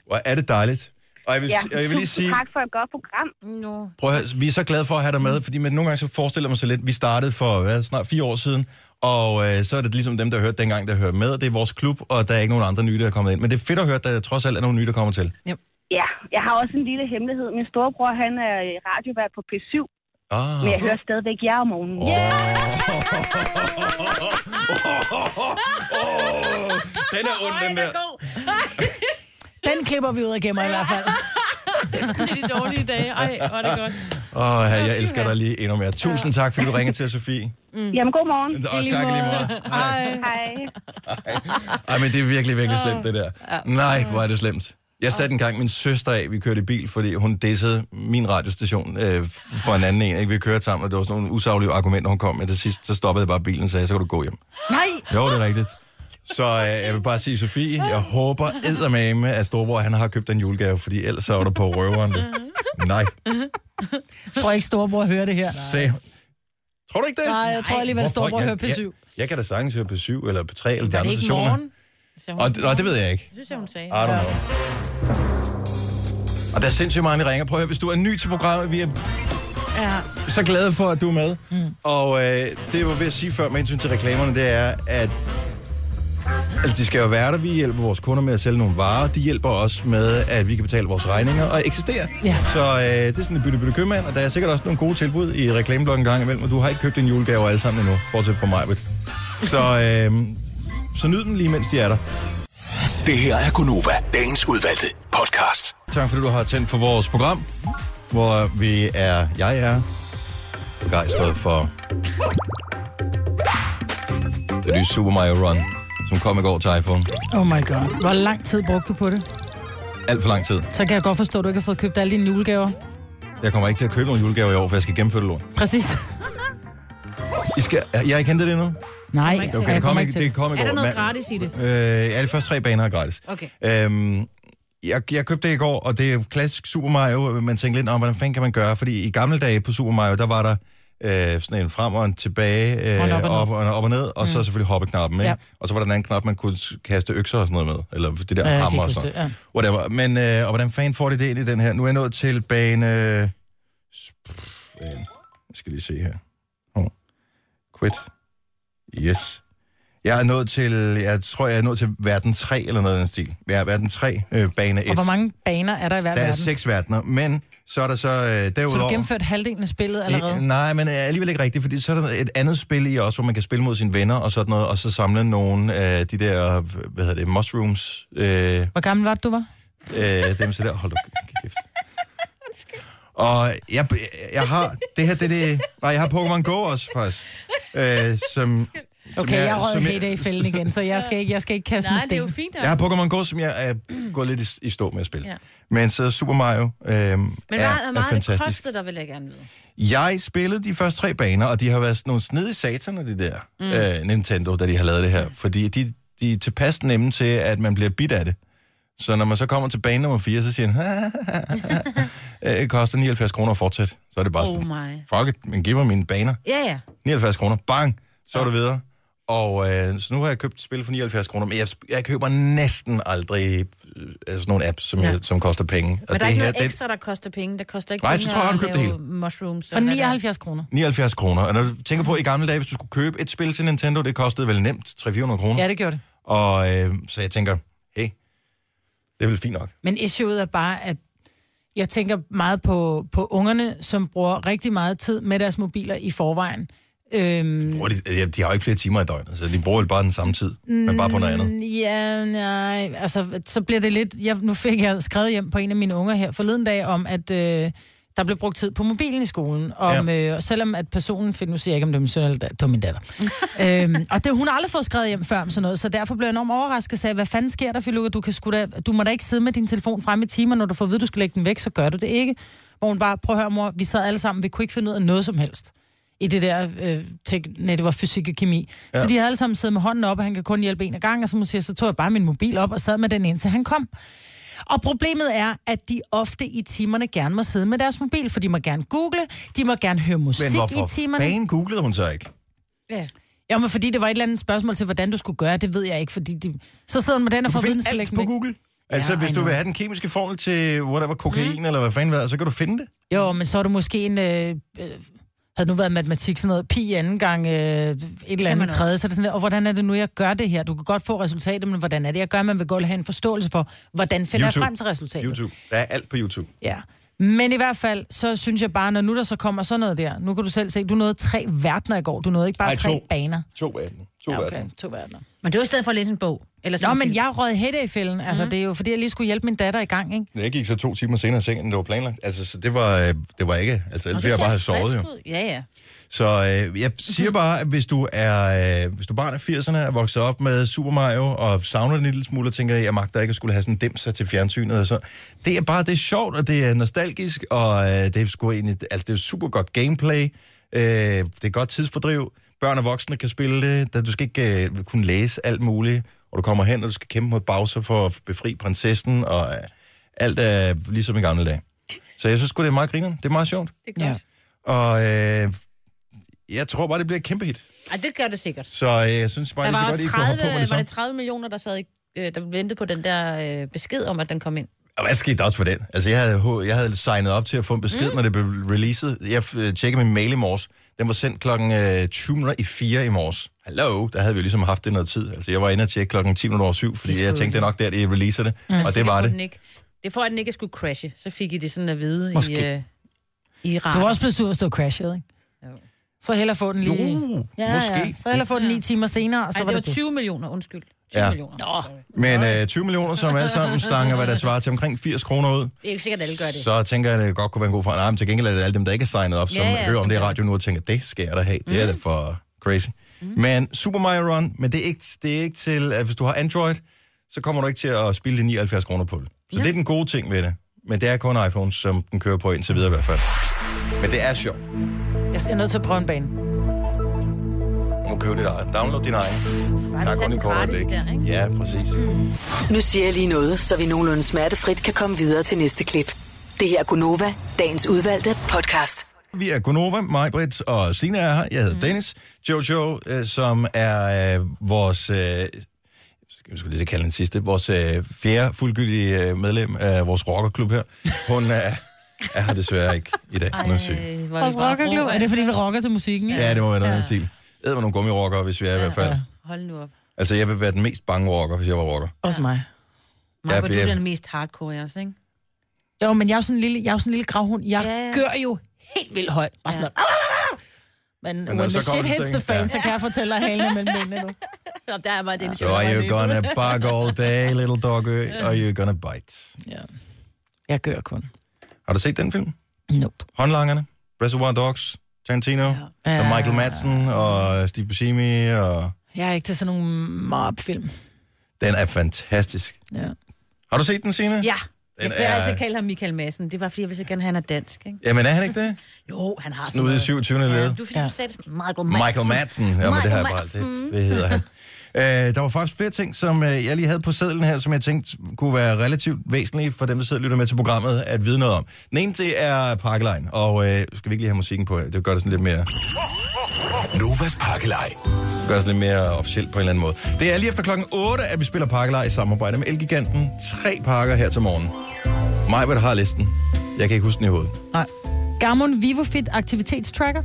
Hvor er det dejligt. Og jeg vil, Ja, ja. jeg vil lige sige, tusind tak for et godt program. No. prøv at, høre, vi er så glade for at have dig med, fordi man, nogle gange så forestiller man sig lidt, vi startede for hvad, snart fire år siden, og øh, så er det ligesom dem, der hørte dengang, der hører med, det er vores klub, og der er ikke nogen andre nye, der er kommet ind. Men det er fedt at høre, at der trods alt er nogle nye, der kommer til. Ja, jeg har også en lille hemmelighed. Min storebror, han er øh, radiovært på P7, Ah. men jeg hører stadigvæk jer om morgenen. Yeah. Den er ond, den der. Den klipper vi ud og gemmer i hvert fald. Det er de dårlige dage. Ej, hvor er det godt. Åh, oh, jeg elsker dig lige endnu mere. Tusind tak, fordi du ringede til, Sofie. Jamen, god morgen. Og tak i lige meget. Ej. Hej. Ej, men det er virkelig, virkelig slemt, det der. Nej, hvor er det slemt. Jeg satte engang min søster af, vi kørte i bil, fordi hun dissede min radiostation øh, for en anden en. Ikke? Vi kørte sammen, og det var sådan nogle usaglige argumenter, hun kom med til sidst. Så stoppede jeg bare bilen og sagde, så kan du gå hjem. Nej! Jo, det er rigtigt. Så øh, jeg vil bare sige, Sofie, jeg håber eddermame, at Storbror han har købt en julegave, fordi ellers så er du på røveren. du. Nej, Jeg tror ikke, storebror hører det her. se. Tror du ikke det? Nej, jeg tror alligevel, at Hvorfor? storebror Jeg- hører P7. Jeg, jeg kan da sagtens høre P7 eller P3 eller de Var det andre ikke stationer. morgen? Sagde hun Og, og det ved jeg ikke. Det synes jeg, hun sagde. I don't know. Og der er sindssygt mange, der ringer. Prøv at høre, hvis du er ny til programmet, vi er Ja. så glade for, at du er med. Mm. Og øh, det, jeg var ved at sige før med hensyn til reklamerne, det er, at altså, de skal jo være der. Vi hjælper vores kunder med at sælge nogle varer. De hjælper os med, at vi kan betale vores regninger og eksistere. Ja. Så øh, det er sådan et bytte, bytte købmand, og der er sikkert også nogle gode tilbud i reklameblokken en gang imellem, og du har ikke købt din julegave alle sammen endnu, bortset fra mig. Så, øh, så nyd dem lige, mens de er der. Det her er Gonova, dagens udvalgte podcast. Tak fordi du har tændt for vores program, hvor vi er, jeg er, begejstret for det nye Super Mario Run, som kom i går til iPhone. Oh my god. Hvor lang tid brugte du på det? alt for lang tid. Så kan jeg godt forstå, at du ikke har fået købt alle dine julegaver. Jeg kommer ikke til at købe nogen julegaver i år, for jeg skal gennemføre det lort. Præcis. I skal, jeg har ikke hentet det endnu. Nej, ikke til. okay, Okay, det jeg kom kommer ikke, ikke til. det kom ikke Er der over, noget men- gratis i det? Øh, ja, de første tre baner er gratis. Okay. Øhm, jeg, jeg købte det i går, og det er klassisk Super Mario. øh, Man tænkte lidt om, hvordan fanden kan man gøre? Fordi i gamle dage på Super Mario, der var der øh, sådan en frem og en tilbage, øh, Og en op og ned. op, og, op og ned, og mm. så selvfølgelig hoppeknappen. Ikke? Ja. Og så var der en anden knap, man kunne s- kaste økser og sådan noget med, eller det der Ja, jeg kan hammer og ikke sådan huske noget. Whatever. Men, øh, og hvordan fanden får det det ind i den her? Nu er jeg nået til bane... øh, s- pff, øh, Jeg skal lige se her. Oh. Quit. Yes. Jeg er nået til, jeg tror, jeg er nået til verden 3 eller noget i den stil. Jeg er verden 3, øh, bane 1. Og hvor mange baner er der i hver Der er verden? seks verdener, men så er der så øh, Så du har derudover... gennemført halvdelen af spillet allerede? I- Nej, men øh, alligevel ikke rigtigt, fordi så er der et andet spil i også, hvor man kan spille mod sine venner og sådan noget, og så samle nogle af de der, øh, hvad hedder det, mushrooms, øh, øh, Hvor gammel var det, du var? dem så der, hold da kæft. Og jeg, jeg har, det her, det er det, nej, jeg har Pokémon Go også, faktisk, øh, som... Okay, jeg røg helt af i i fælden igen, så jeg skal ikke, jeg skal ikke kaste en Nej, det er jo sten. fint. Jeg Ja. har Pokémon Go, som jeg er gået lidt i, i stå med at spille. Ja. Ja. Men så Super Mario øh, er, Men hvad, hvor er, meget det fantastisk. kostede dig, vil jeg gerne vide. Jeg spillede de første tre baner, og de har været sådan nogle snedige sataner, de der mm. øh, Nintendo, da de har lavet det her. Fordi de, de er tilpas nemme til, at man bliver bidt af det. Så når man så kommer til bane nummer 4, så siger han, "Øh, det koster 79 kroner at fortsætte. Så er det bare Oh sådan, my. fuck it, men giv mig mine baner. Ja, ja. 79 kroner, bang, så er du videre. Og øh, så nu har jeg købt et spil for 79 kroner, men jeg, jeg køber næsten aldrig øh, altså nogle apps, som, Ja. ja. som koster penge. Og Men der er ikke her, noget ekstra, der koster penge. Det koster ikke Nej, penge så tror jeg, at har du købt det lave Mushrooms. For 79 kroner. 79 kroner. Og når du tænker på, i gamle dage, hvis du skulle købe et spil til Nintendo, det kostede vel nemt 300-400 kroner. Ja, Ja. det gjorde det. Og øh, så jeg tænker, hey, det er vel fint nok. Men issueet er bare, at jeg tænker meget på, på ungerne, som bruger rigtig meget tid med deres mobiler i forvejen. Øhm, Bruger De, ja, de har jo ikke flere timer i døgnet, så de bruger vel bare den samme tid, men bare på noget Mm, andet. ja, nej, altså, så bliver det lidt... Jeg, nu fik jeg skrevet hjem på en af mine unger her forleden dag om, at øh, der blev brugt tid på mobilen i skolen. Om, ja. øh, og selvom at personen... Find, nu siger jeg ikke, om det er min søn eller dat, det var min datter. øhm, og det, hun har aldrig fået skrevet hjem før om sådan noget, så derfor blev jeg enormt overrasket og sagde, hvad fanden sker der, Filuka? Du, kan sgu da, du må da ikke sidde med din telefon frem i timer, når du får at vide, du skal lægge den væk, så gør du det ikke. Hvor hun bare, prøv at høre mor, vi sad alle sammen, vi kunne ikke finde ud af noget som helst i det der, øh, tek, nej, det var fysik og kemi. Ja. Så de havde alle sammen siddet med hånden op, og han kan kun hjælpe en af gangen, og så, må sige, så tog jeg bare min mobil op og sad med den indtil han kom. Og problemet er, at de ofte i timerne gerne må sidde med deres mobil, for de må gerne google, de må gerne høre Men musik i hvorfor timerne. fanden googlede hun så ikke? Ja. Ja, men fordi det var et eller andet spørgsmål til, hvordan du skulle gøre, det ved jeg ikke, fordi de... så sidder man med den og Du får finder alt på videnslæggende. Google. Altså, Ja, hvis du I know. vil have den kemiske formel til whatever, kokain mm. eller hvad fanden hvad, så kan du finde det. Jo, men så er du måske en... Øh, øh, havde det nu været matematik sådan noget, pi anden gang, øh, et eller andet også. tredje, så er det sådan, der, og hvordan er det nu, jeg gør det her? Du kan godt få resultatet, men hvordan er det, jeg gør? Man vil godt have en forståelse for, hvordan finder YouTube. jeg frem til resultatet? YouTube. Der er alt på YouTube. Ja. Men i hvert fald, så synes jeg bare, når nu der så kommer sådan noget der, nu kan du selv se, du nåede tre verdener i går, du nåede ikke bare Ej, Ej, tre to. baner. To verden. To Ja, ja, okay, to verdener. Men det var i stedet for at læse en bog. Eller Nå, sådan en men film. jeg rød hætte i fælden. Mhm. Altså, det er jo fordi, jeg lige skulle hjælpe min datter i gang, ikke? Jeg gik så to timer senere i sengen, end det var planlagt. Altså, så det var, øh, det var ikke... Altså, Nå, ellers du ville jeg ser bare have frisk sovet, jo. ud. Ja, ja. Så øh, jeg siger bare, at hvis du er øh, hvis du barn af 80'erne, er vokset op med Super Mario, og savner den en lille smule, og tænker, at jeg magter ikke at skulle have sådan en dimser til fjernsynet, og så, det er bare, det er sjovt, og det er nostalgisk, og øh, det er sgu egentlig, altså det er super godt gameplay, øh, det er godt tidsfordriv, børn og voksne kan spille det, da du skal ikke øh, kunne læse alt muligt, og du kommer hen, og du skal kæmpe mod Bowser for at befri prinsessen, og øh, alt er ligesom i gamle dage. Så jeg synes sgu, det er meget griner, det er meget sjovt. Det gør Ja. det. Og øh, jeg tror bare, det bliver et kæmpe hit. Ej, det gør det sikkert. Så øh, jeg synes bare, Der det er var, godt, I kunne 30, hoppe på med det var samme. det 30 millioner, der sad i, øh, der ventede på den der øh, besked om, at den kom ind. Og hvad skete der også for den? Altså, jeg havde, hå- jeg havde signet op til at få en besked, mm. når det blev releaset. Jeg øh, tjekkede min mail i morges. Den var sendt klokken øh, 20 minutter i 4 i morges. Hallo, der havde vi jo ligesom haft det noget tid. Altså, jeg var inde og tjekke klokken 10 minutter over 7, fordi jeg tænkte, det er nok der, de releaser det. Mm. Og det var Sikkert på det. Den ikke. Det for, at den ikke skulle crashe. Så fik I det sådan at vide i, Måske. øh, i Du radioen. var også blevet sur, hvis du var crashet, ikke? Jo. Så hellere få den Jo, lige... Ja, ja. måske. Så hellere få den ni timer senere, og så Ej, var det det, det. var 20 millioner, undskyld. 20 Ja. millioner. Nå. Men øh, 20 millioner, som alle sammen stanger, hvad der svarer til omkring 80 kroner ud. Det er ikke sikkert, at alle gør det. Så tænker jeg, at det godt kunne være en god forandring. Nej, men til gengæld er det alle dem, der ikke er signet op, som Ja, ja, ja, ja, hører som Mhm. om det i gør det. radioen nu og tænker, det skal jeg da have. Det er da for crazy. Mhm. Mm. Men Super Mario Run, men det er, ikke, det er ikke til, at hvis du har Android, så kommer du ikke til at spille de 79 kroner på det. Så ja. det er den gode ting ved det. Men det er kun iPhones, som den kører på indtil videre i hvert fald. Men det er sjovt. Jeg er nødt til at prøve en bane. Du må købe dit eget. Download din egen. Der er kun et kort øjeblik. Ja, præcis. Mhm. Nu siger jeg lige noget, så vi nogenlunde smertefrit kan komme videre til næste klip. Det her er Gunova, dagens udvalgte podcast. Vi er Gunova, Majbrits og Sina er her. Jeg hedder mm. Dennis. Jojo, øh, som er øh, vores... Øh, skal vi skulle lige så kalde den sidste. Vores øh, fjerde fuldgyldige øh, medlem af vores rockerklub her. Hun er, er her desværre ikke i dag. Hun er syg. Øh, hvor Vores rockerklub. Er det, fordi vi rocker til musikken? Ja. Ja, det må være noget ja. stil. Æd mig nogle gummirockere, hvis vi er i hvert fald. Hold nu op. Altså, jeg vil være den mest bange rocker, hvis jeg var rocker. Også mig. Maja, Ja, hvor vi du er- er den mest hardcore også, ikke? Jo, men jeg er jo sådan en lille, jeg er jo sådan en lille gravhund. Jeg Ja, ja. yeah. gør jo helt vildt højt. Bare sådan yeah. Men, men når when det the så kommer shit til hits the stykket, fan, ja. ja. så kan jeg fortælle dig halen mellem benene nu. Nå, der er bare det, So are you gonna bark all day, little dog? Are you gonna bite? Ja. Jeg gør kun. Har du set den film? Nope. Håndlangerne, Reservoir Dogs, Tarantino, ja. og Ah. Michael Madsen og Steve Buscemi. Og... Jeg er ikke til sådan nogle mob-film. Den er fantastisk. Ja. Har du set den, Signe? Ja. Den Jeg vil er- altid kalde ham Michael Madsen. Det var, fordi jeg ville så gerne, have, han er dansk, ikke? Jamen er han ikke det? Jo, han har sådan Nu ude i noget. 27. Ja, Ja, led. du, fordi du sagde det sådan, Michael Madsen. Michael Madsen. Ja, men det har jeg bare det, det hedder han. Øh, der var faktisk flere ting, som øh, jeg lige havde på sædlen her, som jeg tænkte kunne være relativt væsentlige for dem, der sidder og lytter med til programmet, at vide noget om. Den ene til er Parkline, og øh, skal vi ikke lige have musikken på? Det gør det sådan lidt mere... Novas Pakkelej. gør os lidt mere officielt på en eller anden måde. Det er lige efter klokken 8, at vi spiller pakkelej i samarbejde med Elgiganten. Tre pakker her til morgen. Mig, hvad der har listen. Jeg kan ikke huske den i hovedet. Nej. Garmin VivoFit aktivitetstracker,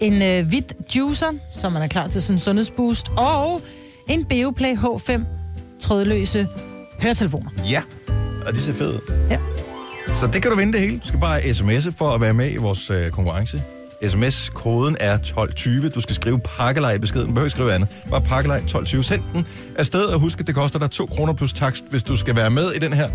en øh, hvid juicer, som man er klar til sådan en sundhedsboost, og en Beoplay H5 trådløse høretelefoner. Ja. Og det ser fedt ud. Ja. Så det kan du vinde det hele. Du skal bare sms'e for at være med i vores øh, konkurrence. SMS-koden er 1220. Du skal skrive pakkelej i beskeden. Du behøver ikke skrive andet. Bare pakkelej 1220. Send den afsted, og husk, at det koster dig 2 kroner plus takst, hvis du skal være med i den her.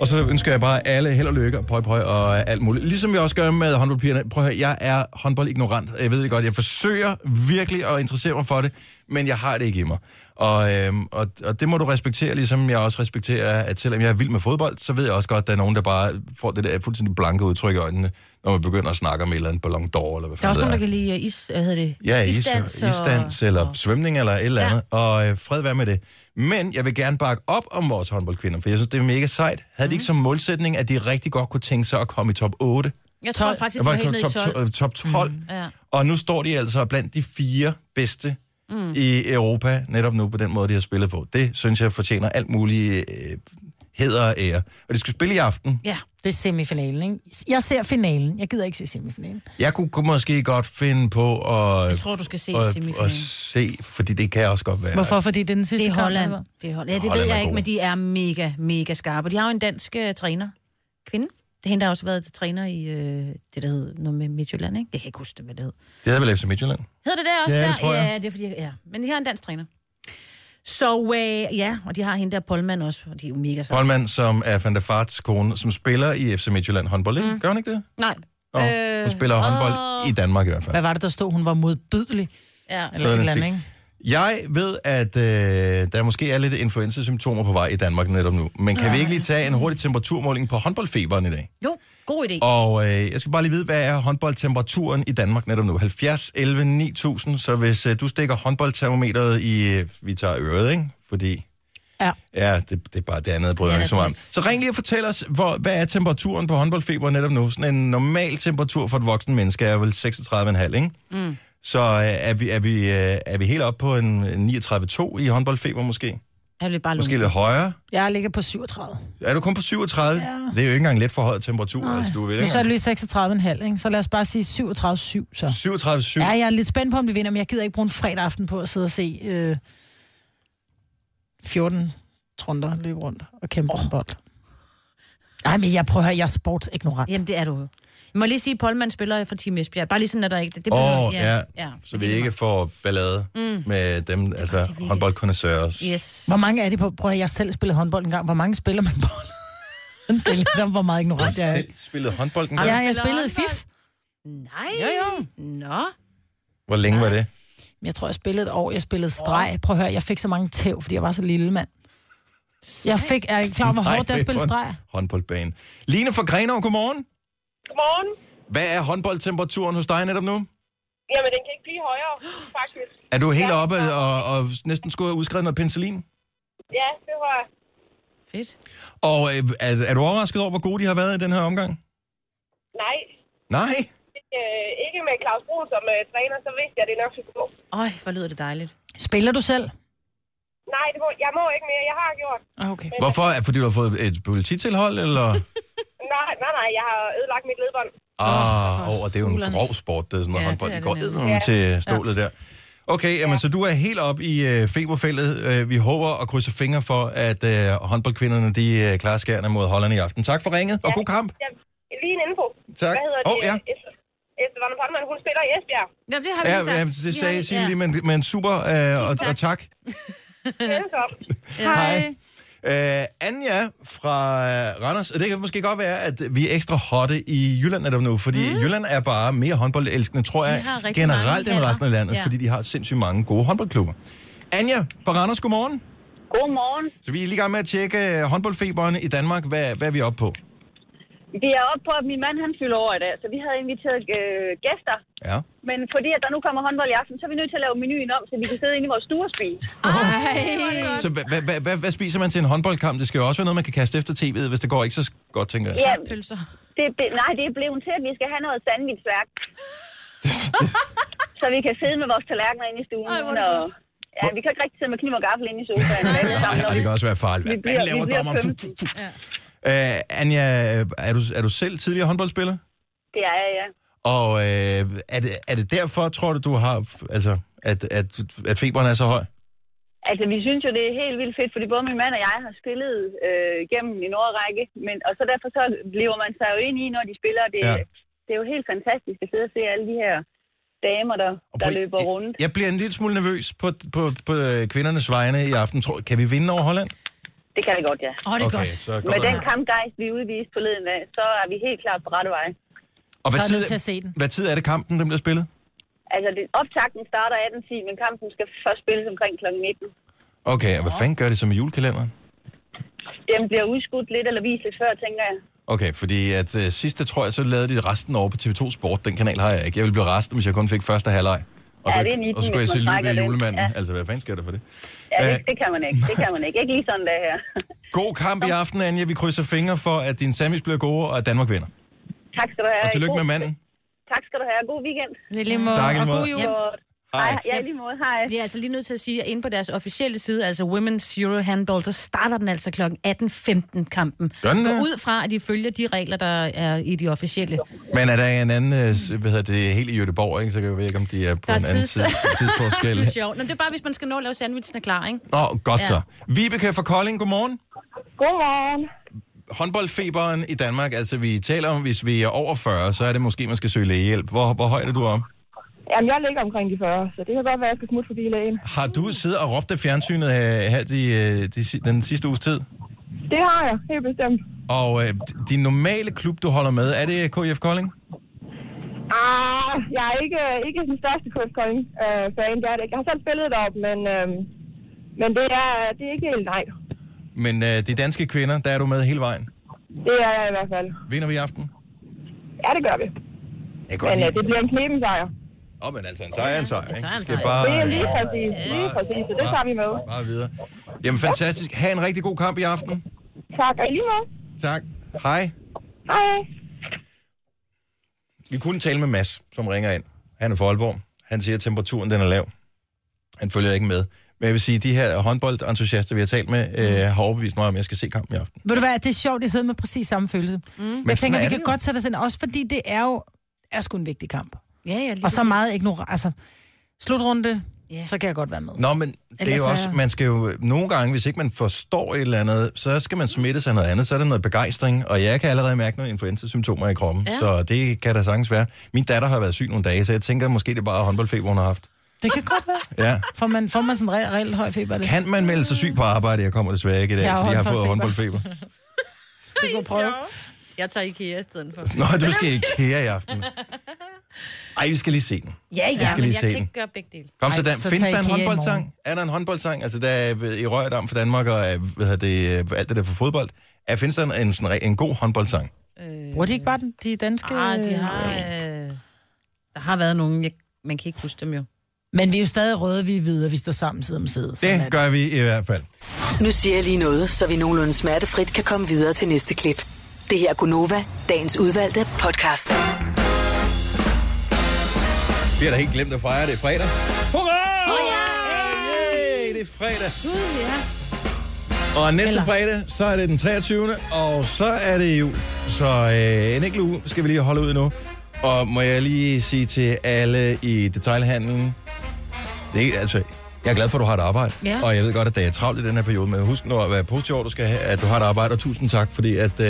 Og så ønsker jeg bare alle held og lykke, og pøj, pøj og alt muligt. Ligesom jeg også gør med håndboldpigerne. Prøv at høre, jeg er håndboldignorant. Jeg ved det godt, jeg forsøger virkelig at interessere mig for det, men jeg har det ikke i mig. Og, øhm, og, og det må du respektere, ligesom jeg også respekterer, at selvom jeg er vild med fodbold, så ved jeg også godt, at der er nogen, der bare får det der fuldstændig blanke udtryk i øjnene, når man begynder at snakke om et eller andet Ballon d'Or, eller hvad Der er fanden også det nogen, der kan lide øh, is, hvad hedder det? Ja, isdans, og- isdans eller og- svømning eller et eller Ja. andet. Og øh, fred være med det. Men jeg vil gerne bakke op om vores håndboldkvinder, for jeg synes, det er mega sejt. Havde de ikke som målsætning, at de rigtig godt kunne tænke sig at komme i top 8? Jeg tror faktisk, Der Mhm. det var var helt ned i top, 12. top, top 12. Mm, ja. Og nu står de altså blandt de fire bedste mm. i Europa, netop nu på den måde, de har spillet på. Det synes jeg fortjener alt muligt øh, heder og ære. Og de skal spille i aften. Ja, Det er semifinalen, ikke? Jeg ser finalen. Jeg gider ikke se semifinalen. Jeg kunne, kunne måske godt finde på at... jeg tror, du skal se og, og semifinalen. se, fordi det kan også godt være. Hvorfor? Fordi det er den sidste Det er Holland. Kamp, eller Det er Holland. Ja, det Holland ved er jeg ikke, gode. men de er mega, mega skarpe. De har jo en dansk øh, træner. Kvinde. Det er hende, der har også været træner i øh, det, der hed noget med Midtjylland, ikke? Jeg kan ikke huske, det, hvad det hed. Det havde vel FC Midtjylland. Hedder det der også Ja, der? det tror jeg. Ja, det er fordi, ja. Men de har en dansk træner. Så øh, ja, og de har hende der Polman også, og de er jo mega sejre. Holman, som er Van der Farts kone, som spiller i FC Midtjylland håndbold, ikke? Mm. Gør hun ikke det? Nej. Nå, øh, hun spiller håndbold i Danmark i hvert fald. Hvad var det, der stod? Hun var modbydelig. Ja. Eller et Noget eller af den andet, ikke? Jeg ved, at øh, der måske er lidt influenza-symptomer på vej i Danmark netop nu, men kan vi ikke lige tage en hurtig temperaturmåling på håndboldfeberen i dag? Jo, god idé. Og øh, jeg skal bare lige vide, hvad er håndboldtemperaturen i Danmark netop nu? 70, 11, 9000. Så hvis øh, du stikker håndboldtermometeret i, øh, vi tager øret, ikke? Fordi, Ja. ja det, det er bare det andet, bryder jeg Ja, mig ikke så meget om. naturligt. Så ring lige og fortæl os, hvor, hvad er temperaturen på håndboldfeber netop nu? Sådan en normal temperatur for et voksen menneske er vel 36,5, ikke? Mm. Så øh, er, vi, er, vi, øh, er vi helt oppe på en 39,2 i håndboldfeber måske? Jeg vil bare Måske lukke. lidt højere? Jeg ligger på 37. Er du kun på 37? Ja. Det er jo ikke engang let for høj temperatur. Altså, du vil Nu ikke så er det lige 36,5, ikke? Så lad os bare sige 37,7, så. 37,7. Ja, jeg er lidt spændt på, om vi vinder, men jeg gider ikke bruge en fredag aften på at sidde og se øh, 14 trunder løbe rundt og kæmpe oh. bold. Ej, men jeg prøver at høre, jeg er sportsignorant. Jamen, det er du jo. Jeg må lige sige, at Polman spiller for Team Esbjerg. Bare lige sådan, at der ikke... Det Åh, behøver- oh, ja. ja. ja. Så vi ikke får ballade mm. med dem, altså vi ikke. håndboldkondensører. Yes. Hvor mange er de på? Prøv at høre, jeg har selv spillet håndbold en gang. Hvor mange spiller man bold? det er lidt om, hvor meget Jeg ignorant jeg er. selv spillet håndbold en gang. Ja, Ja. jeg spillede i FIF. Nej. Jo, jo. Nå. Hvor længe var det? Jeg tror, jeg spillede et år. Jeg spillede streg. Prøv at høre, jeg fik så mange tæv, fordi jeg var så lille mand. Jeg fik, er I klar, over, hvor Nej, hårdt det er at det er spille hånd- streg? Håndboldbane. Line fra Grenov, godmorgen. Godmorgen. Hvad er håndboldtemperaturen hos dig netop nu? Jamen, den kan ikke blive højere, faktisk. Er du helt Ja, oppe og, og næsten skulle have udskrevet noget penicillin? Ja, det var... Fedt. Og øh, er, er du overrasket over, hvor gode de har været i den her omgang? Nej, Nej. øh, ikke med Claus Bro som øh, træner, så vidste jeg, at det nok skulle gå. Øj, hvor lyder det dejligt. Spiller du selv? Nej, det må, jeg må ikke mere. Jeg har gjort. Ah, Okay. Hvorfor? Er det, Fordi du har fået et polititilhold, eller? Nej, nej, nej. Jeg har ødelagt mit ledbånd. Ah, oh, og det er jo en Ulan. grov sport, det er sådan noget Ja, ja, det håndbold. er Det det går nemlig. eddermame til stålet der. Okay, jamen, så du er helt op i øh, feberfældet. Øh, vi håber og krydser fingre for, at øh, håndboldkvinderne de, øh, klarer skærene mod Holland i aften. Tak for ringet, og god kamp. Jeg, lige en info. Tak. Hvad hedder Åh, det? ja. Es- Esther Van Potman, hun spiller i Esbjerg. Jamen, det har vi Ja, lige sagt. ja, Vi det har sagde lige- Signe ja. lige, men, men super, øh, og, og tak. Velkommen. Hej. Øh, Anja fra øh, Randers, og det kan måske godt være, at vi er ekstra hotte i Jylland netop nu, fordi mm. Jylland er bare mere håndboldelskende, tror De jeg, har rigtig generelt mange end resten af hænder. landet, ja. Ja. fordi de har sindssygt mange gode håndboldklubber. Anja fra Randers, godmorgen. Godmorgen. Så vi er lige i gang med at tjekke øh, håndboldfeberen i Danmark. Hvad, hvad er vi oppe på? Vi er oppe på, at min mand han fylder over i dag, så vi havde inviteret øh, gæster. Ja. Men fordi at der nu kommer håndbold i aften, så er vi nødt til at lave menuen om, så vi kan sidde inde i vores stue og spise. Ej. Så hvad, hvad, hvad, hvad, hvad spiser man til en håndboldkamp? Det skal jo også være noget, man kan kaste efter tv'et, hvis det går ikke så godt, tænker jeg. Ja, Pølser. det, er ble- nej, det er blevet til, at vi skal have noget sandwichværk. så vi kan sidde med vores tallerkener inde i stuen. Ej, hvor er det og, godt. ja, vi kan ikke rigtig sidde med kniv og gaffel inde i sofaen. Ej, Ej, det kan også være farligt. Vi Hvad bliver- fanden vi laver bliver dommeren? femten. Øh, Anja, er du, er du selv tidligere håndboldspiller? det er jeg, ja. Og øh, er, det, er det derfor, tror du, du har, f- altså, at, at, at feberen er så høj? Altså, vi synes jo, det er helt vildt fedt, fordi både min mand og jeg har spillet øh, gennem en årrække, men, og så derfor så lever man sig jo ind i, når de spiller. Det, Ja. ja. det er jo helt fantastisk at sidde og se alle de her damer, der, Og der prøv- løber rundt. Jeg bliver en lille smule nervøs på, på, på øh, kvindernes vegne i aften. Tror, kan vi vinde over Holland? Det kan vi godt, ja. Åh, det er okay, godt. så Med godt. den kampgejst, vi udviste forleden af, så er vi helt klart på rette vej. Og Så hvad er jeg nødt til at tid, se den. hvad tid er det kampen, den bliver spillet? Altså, det, optakten starter 18.10, men kampen skal først spilles omkring kl. 19. Okay, og hvad fanden gør det som i julekalenderen? Den bliver udskudt lidt eller vist lidt før, tænker jeg. Okay, fordi at øh, sidste, tror jeg, så lavede de resten over på TV2 Sport. Den kanal har jeg ikke. Jeg ville blive rastet, hvis jeg kun fik første halvleg. Og så, Ja, det er en og så skulle jeg hvis se man Lykke trækker i den. julemanden. Ja. Ja. Altså, hvad fanden sker der for det? Ja, det, Øh. Altså, det kan man ikke. Det kan man ikke. Ikke lige sådan der her. God kamp i aften, Anja. Vi krydser fingre for, at din sandwich bliver gode, og at Danmark vinder. tak skal du have. Og tillykke God- med manden. Tak skal du have. God weekend. Det er lige måde. Tak, i og lige måde. god jul. Jamen, Godt. Hej. Hej. Ja, i lige måde. Hej. Vi er altså lige nødt til at sige, at inde på deres officielle side, altså Women's Euro Handball, så starter den altså kl. 18.15 kampen. Gør den Gå det? ud fra, at de følger de regler, der er i de officielle. Men er der en anden, øh, s- hvad hedder det, helt i Jødeborg, ikke? så kan jeg ikke, om de er på Der er en anden tids- tids- Det er tidsforskel. sjovt. Nå, det er bare, hvis man skal nå at lave sandwichen er klar, ikke? Nå, godt Ja. så. Vibeke fra Kolding, godmorgen. Godmorgen. Håndboldfeberen i Danmark, altså vi taler om, hvis vi er over 40, så er det måske, man skal søge lægehjælp. Hvor, hvor højt er du om? Jamen, jeg ligger omkring de 40, så det kan godt være, at jeg skal smutte forbi lægen. Har du siddet og råbt af fjernsynet her, her de, øh, de, si- den sidste uges tid? Det har jeg, helt bestemt. Og øh, din normale klub, du holder med, er det KIF Kolding? Ah, jeg er ikke, ikke den største KF Kolding øh, fan, det er det ikke. Jeg har selv spillet deroppe, men, øh, men det, er, det er ikke helt nej. Men øh, de danske kvinder, der er du med hele vejen. Det er jeg i hvert fald. Vinder vi i aften? Ja, det gør vi. Jeg kan Men godt øh, det lide. bliver en knepen sejr. Åh, men altså, en sejr er en sejr, sejr ikke? er en Vi skal sejr. bare... Det er lige præcis, lige præcis, så det tager vi med. Bare videre. Jamen fantastisk. Ha' en rigtig god kamp i aften. Tak, og i lige måde. Tak. Hej. Hej. Vi kunne tale med Mads, som ringer ind. Han er fra Aalborg. Han siger, at temperaturen den er lav. Han følger ikke med. Men jeg vil sige, at de her håndboldentusiaster, vi har talt Mm. med, øh, har overbevist mig om, at jeg skal se kampen i aften. Ved du hvad, det er sjovt, jeg sidder med præcis samme følelse. Mm. Men Jeg sådan tænker, vi er kan det jo. godt sætte os ind, også fordi det er jo er sgu en vigtig kamp. Ja, ja, lige Og så præcis. meget ignorant. Altså, slutrunde, Ja. så kan jeg godt være med. Nå, men det er Ellers jo er- også, man skal jo nogle gange, hvis ikke man forstår et eller andet, så skal man smitte sig af noget andet, så er det noget begejstring, og jeg kan allerede mærke nogle influenza-symptomer i kroppen, ja. så det kan da sagtens være. Min datter har været syg nogle dage, så jeg tænker måske, det er bare håndboldfeber, hun har haft. Det kan godt være. Ja. Får man, får man sådan re- reelt høj feber? af Det, Kan man melde sig syg på arbejde? Jeg kommer desværre ikke i dag, Jeg jeg har fordi jeg har fået håndboldfeber. håndboldfeber. det kan prøve. Jeg tager IKEA i stedet for. Nå, du skal i IKEA i aften. Ej, vi skal lige se den. Ja, ja, skal men lige jeg se kan den. ikke gøre begge dele. Kom så, Ej, Dan. så Findes tag der en IKEA i håndboldsang? morgen. Er der en håndboldsang? Altså, der er øh, i Rørdam for Danmark og øh, hvad hedder det, øh, alt det der for fodbold. Er, findes der en, en, sådan re- en god håndboldsang? Bruger de ikke bare den, de danske... Ah, de har... Øh, der har været nogen, jeg, man kan ikke huske dem jo. Men vi er jo stadig røde, vi er hvide, og vi står sammen side om side. Sådan er Det gør vi i hvert fald. Nu siger jeg lige noget, så vi nogenlunde smertefrit kan komme videre til næste klip. Det her er Gunova, dagens udvalgte podcast. Vi har da helt glemt at fejre det er fredag. Hurra! Yay, det er fredag. Og næste Eller- fredag, så er det den 23. Og så er det jul. Så øh, en enkelt uge skal vi lige holde ud nu. Og må jeg lige sige til alle i detailhandlen, det er, altså, jeg er glad for, at du har et arbejde. Ja. Og jeg ved godt, at det er travlt i den her periode, men husk nu at være positiv over, at du skal have, at du har et arbejde. Og tusind tak, fordi at, øh,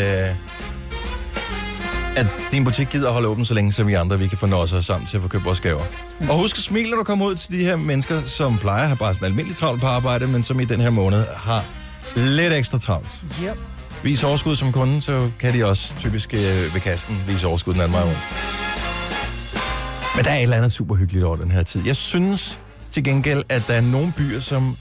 at din butik gider at holde åben så længe, som vi andre vi kan fornøje os sammen til at få købt vores gaver. Mm. Og husk at smile, når du kommer ud til de her mennesker, som plejer at have bare sådan almindeligt travlt på arbejde, men som i den her måned har lidt ekstra travlt. Yep. Vis overskud som kunde, så kan de også typisk øh, ved kassen vise overskud den anden vej rundt. Men der er et eller andet super hyggeligt over den her tid. Jeg synes til gengæld, at der er nogle byer, som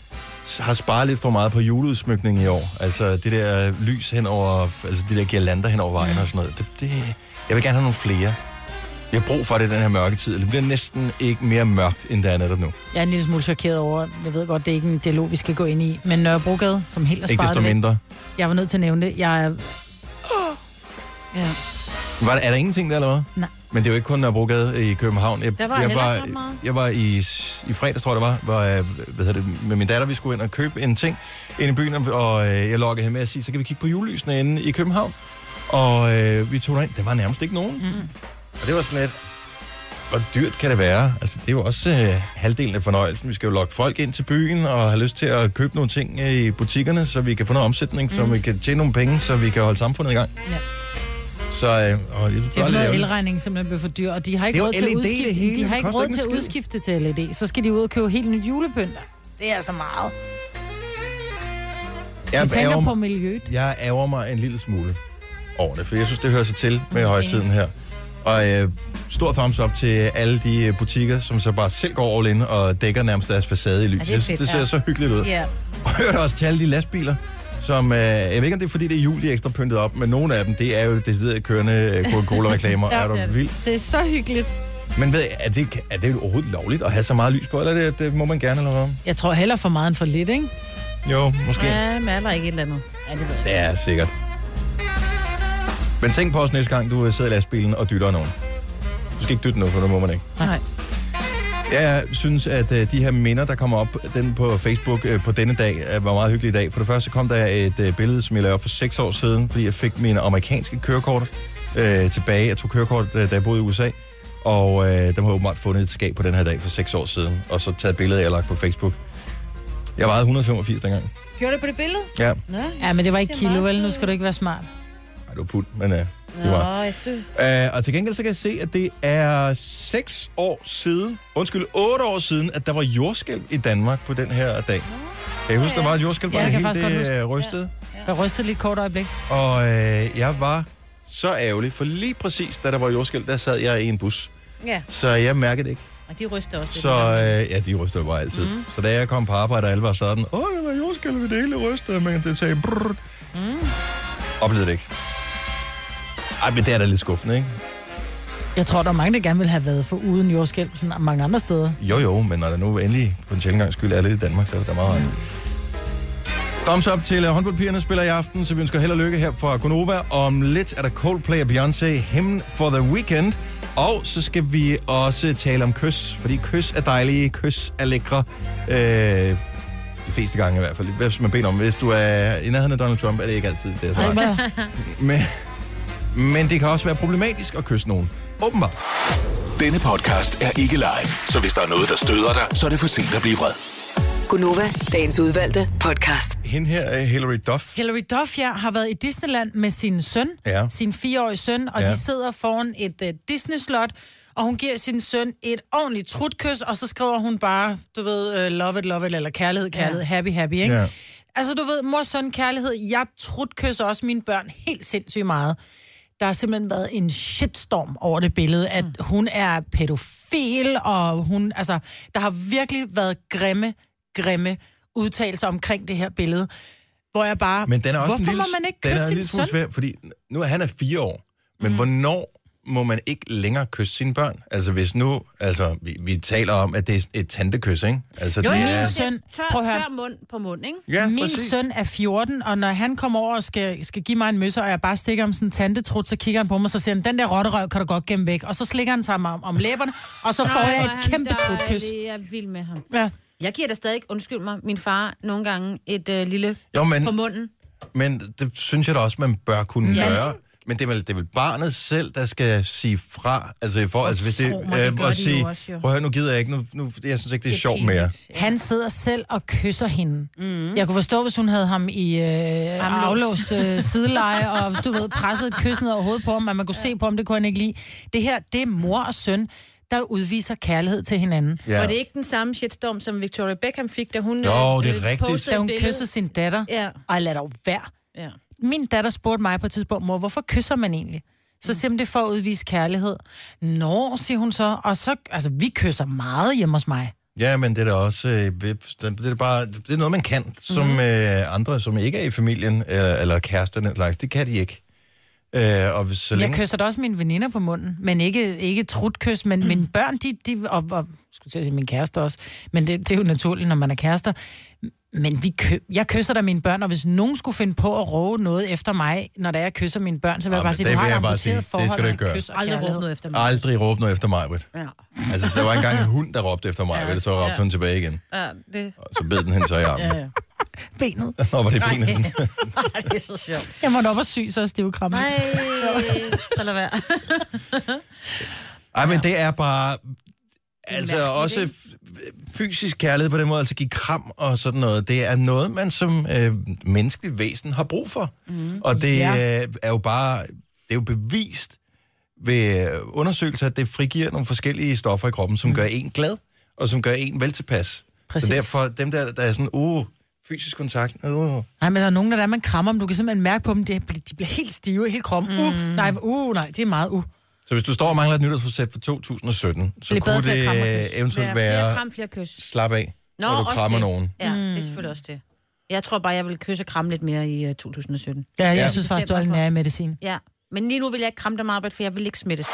s- har sparet lidt for meget på juleudsmykning i år. Altså det der lys hen over, altså de der girlander hen over vejen og sådan noget. Det, det, jeg vil gerne have nogle flere. Jeg har brug for det i den her mørke tid. Det bliver næsten ikke mere mørkt, end det er netop nu. Jeg er en lille smule chokeret over, jeg ved godt, det er ikke en dialog, vi skal gå ind i, men Nørrebrogade, som helt er Ikke sparet desto det væk. mindre. Jeg var nødt til at nævne det. Jeg er... Ja. Var der, er der ingenting der, eller hvad? Nej. Men det er jo ikke kun Nørrebrogade i København. Jeg, Der var jeg heller var, ikke ret meget. jeg var i, s- i fredags, tror jeg det var, hvor, jeg- hvad hedder det, med min datter, vi skulle ind og købe en ting ind i byen, og- og øh, jeg lokkede hende med at sige, så kan vi kigge på julelysene inde i København. Og øh, vi tog derind. Der var nærmest ikke nogen. Mm. Og det var sådan lidt, hvor dyrt kan det være? Altså, det er jo også øh, halvdelen af fornøjelsen. Vi skal jo lokke folk ind til byen og have lyst til at købe nogle ting øh, i butikkerne, så vi kan få noget omsætning, mm. så vi kan tjene nogle penge, så vi kan holde samfundet i gang. Ja. Så øh, og, det, Det er fordi elregningen simpelthen blev for dyr, og de har ikke Det er råd jo til at LED det udskifte, hele, de har det ikke koster råd ikke til at en skid. udskifte til LED. Så skal de ud og købe helt nyt julepynt. Det er altså meget. De Jeg tænker ærger, på miljøet. jeg ærger mig en lille smule over det, for jeg synes, det hører sig til med højtiden her. Og øh, stor thumbs up til alle de øh, butikker, som så bare selv går all in og dækker nærmest deres facade i lys. det er Jeg synes, fedt, det ser ja. så hyggeligt ud. Ja. Og jeg hørte også til alle de lastbiler, som, øh, jeg ved ikke, om det er fordi, det er jul, de er ekstra pyntet op, men nogle af dem, det er jo decideret kørende øh, Coca-Cola-reklamer. ja, er du vild? Det er så hyggeligt. Men ved, er det, er det overhovedet lovligt at have så meget lys på, eller er det, det må man gerne, eller hvad? Jeg tror heller for meget end for lidt, ikke? Jo, måske. ja, men er der ikke et eller andet? Ja, det ved jeg. Ja, sikkert. Men tænk på os næste gang, du øh, sidder i lastbilen og dytter nogen. Du skal ikke dytte nogen, for det må man ikke. Nej. Jeg synes, at øh, de her minder, der kommer op den på Facebook øh, på denne dag, øh, var meget hyggelig i dag. For det første kom der et øh, billede, som jeg lavede for seks år siden, fordi jeg fik mine amerikanske kørekort øh, tilbage. Jeg tog kørekort, øh, da jeg boede i USA. Og øh, dem har jeg åbenbart fundet i et skab på den her dag for seks år siden. Og så taget billeder, jeg har lagt på Facebook. Jeg vejede 185 dengang. Gjorde det på det billede? Ja, Nå, Ja, men det var ikke Det ser meget kilo, vel? Nu sødt skal du ikke være smart. Ej, det var put, men øh, det var... Nå jeg synes... Uh, og til gengæld så kan jeg se, at det er 6 år siden, undskyld, 8 år siden, at der var jordskælv i Danmark på den her dag. Kan I huske, der var et jordskælv, hvor Ja, det jeg kan hele faktisk godt det huske. øh, rystede? Jeg rystede lige et kort øjeblik. Og øh, jeg var så ærgerlig, for lige præcis da der var jordskælv, der sad jeg i en bus. Ja, Så jeg mærkede det ikke. og de ryster også. lidt. Så øh, ja, de ryster jo bare altid. Mhm. Mm. Så da jeg kom på arbejde, og alle var sådan, åh, det var jordskælv, vi det hele rystede, men det sagde brrrt. Mm. Mhm. Oplevede det ikke. Ej, men det er da lidt skuffende, ikke? Jeg tror, der er mange, der gerne vil have været for uden jordskælv, sådan mange andre steder. Jo, jo, men når der nu endelig på en sjældent gang skyld er lidt i Danmark, så er det da meget rart. Thumbs up til øh, håndboldpigerne spiller i aften, så vi ønsker held og lykke her fra Gonova. Om lidt er der Coldplay og Beyoncé, Him for the Weekend. Og så skal vi også tale om kys, fordi kys er dejlige, kys er lækre. Øh, de fleste gange i hvert fald, hvis man beder om. Hvis du er i nærheden af Donald Trump, er det ikke altid det. Er så rart. men, men det kan også være problematisk at kysse nogen. Åbenbart. Denne podcast er ikke live, så hvis der er noget, der støder dig, så er det for sent at blive vred. Gunova, dagens udvalgte podcast. Hende her er Hillary Duff. Hillary Duff ja, har været i Disneyland med sin søn, Ja. sin fireårige søn, og Ja. ja. de sidder foran et uh, Disney-slot, og hun giver sin søn et ordentligt trutkys, og så skriver hun bare, du ved, uh, love it, love it, eller kærlighed, kærlighed, ja. happy, happy, ikke? Ja. Ja. Altså, du ved, mor, søn, kærlighed, jeg trutkysser også mine børn helt sindssygt meget. Der har simpelthen været en shitstorm over det billede, at Mm. hun er pædofil, og hun, altså, der har virkelig været grimme, grimme udtalelser omkring det her billede, hvor jeg bare, Men den er også hvorfor en lille, må man ikke den er kysse en sin lille søn? smule svær, fordi nu er han er fire år, men Mhm. mm. hvornår må man ikke længere kysse sine børn? Altså hvis nu, altså vi, vi taler om, at det er et tantekys, ikke? Altså, Jo, det jo, er, ja. Min søn- tør, prøv at høre. tør mund på mund, ikke? ja, Min præcis. søn er 14, og når han kommer over og skal, skal give mig en møsse, og jeg bare stikker om sådan en tandetrut, så kigger han på mig, så siger han, den der rotterøv kan du godt gemme væk. Og så slikker han sig om, om læberne, og så får Ej, jeg hvor er et han kæmpe trutkys. dejlig. Jeg er vild med ham. Ja. Jeg giver da stadig, undskyld mig, min far nogle gange et øh, lille Jo, på men, munden. men det synes jeg da også, man bør kunne Ja. gøre. Men det er, vel, det er vel barnet selv, der skal sige fra. Altså, i forhold, altså hvis det, tro mig, det gør og de jo sige, også, jo. prøv at høre, nu gider jeg ikke, nu, nu, jeg synes ikke, det er, Det er sjovt pinligt. mere. Han sidder selv og kysser hende. Mm. Jeg kunne forstå, hvis hun havde ham i øh, aflåst øh, sideleje, og du ved, presset et kys ned over hovedet på ham, og man kunne se på ham, det kunne han ikke lide. Det her, det er mor og søn, der udviser kærlighed til hinanden. Ja. Var det ikke den samme shitstorm, som Victoria Beckham fik, da hun øh, Jo, det er rigtigt. Da hun kyssede sin datter, Ja. og lad dog være. Ja. min datter spurgte mig på et tidspunkt, mor, hvorfor kysser man egentlig? Mm. Så siger hun, det er for at udvise kærlighed. Nå, siger hun så. Og så, altså, vi kysser meget hjemme hos mig. Ja, men det er da også øh, det er da bare, det er noget, man kan, som mm. øh, andre, som ikke er i familien eller, eller kæresterne eller slags, det kan de ikke. Øh, og hvis, så Jeg længe, kysser da også mine veninder på munden, men ikke, ikke trutkys, men mm. mine børn, de, de og, og skulle til at sige min kæreste også, men det, det er jo naturligt, når man er kærester. Men vi kø, jeg kysser da mine børn, og hvis nogen skulle finde på at råbe noget efter mig, når der jeg kysser mine børn, så vil jeg men bare sige, det du har vil et jeg bare sige, amputeret det skal du forhold ikke til gøre. kys og Aldrig råbe kærlighed. noget efter mig. aldrig råbe noget efter mig, Ja. Altså, så der var engang en hund, der råbte efter mig, ja, så råbte Ja. hun tilbage igen. ja, det... Og så bed den hen så i armen. Ja, ja. Benet. Nå, var det benet. Ej, det er så sjovt. Jeg måtte op og sy, så er stivkrammet. Nej, så lad være. Ej, men det er bare... Altså mærkeligt, også ikke? f- fysisk kærlighed på den måde, altså give kram og sådan noget, det er noget, man som øh, menneskelig væsen har brug for. Mm. Og det Ja. ja. øh, er jo bare, det er jo bevist ved øh, undersøgelser, at det frigiver nogle forskellige stoffer i kroppen, som mm. gør en glad, og som gør en veltilpas. Præcis. Så derfor, dem der, der er sådan, uh, fysisk kontakt, uh, Nej, men der er nogen, der, er, man krammer dem. Du kan simpelthen mærke på dem, det, bl- de bliver helt stive i hele kroppen. Mm. Uh, nej, uh, nej, det er meget uh. Så hvis du står og mangler et nytårsforsæt for 2017, så Bliv bedre kunne til at det kramme og kysse. øh, eventuelt Flere være kram, flere kys. slap af, Nå, når du også krammer det. nogen. Ja, det er selvfølgelig også det. Hmm. Jeg tror bare, jeg vil kysse og kramme lidt mere i øh, 2017. Ja, jeg Ja. ja. synes faktisk, du er lidt nær i medicin. Ja, men lige nu vil jeg ikke kramme dig meget, for jeg vil ikke smittes.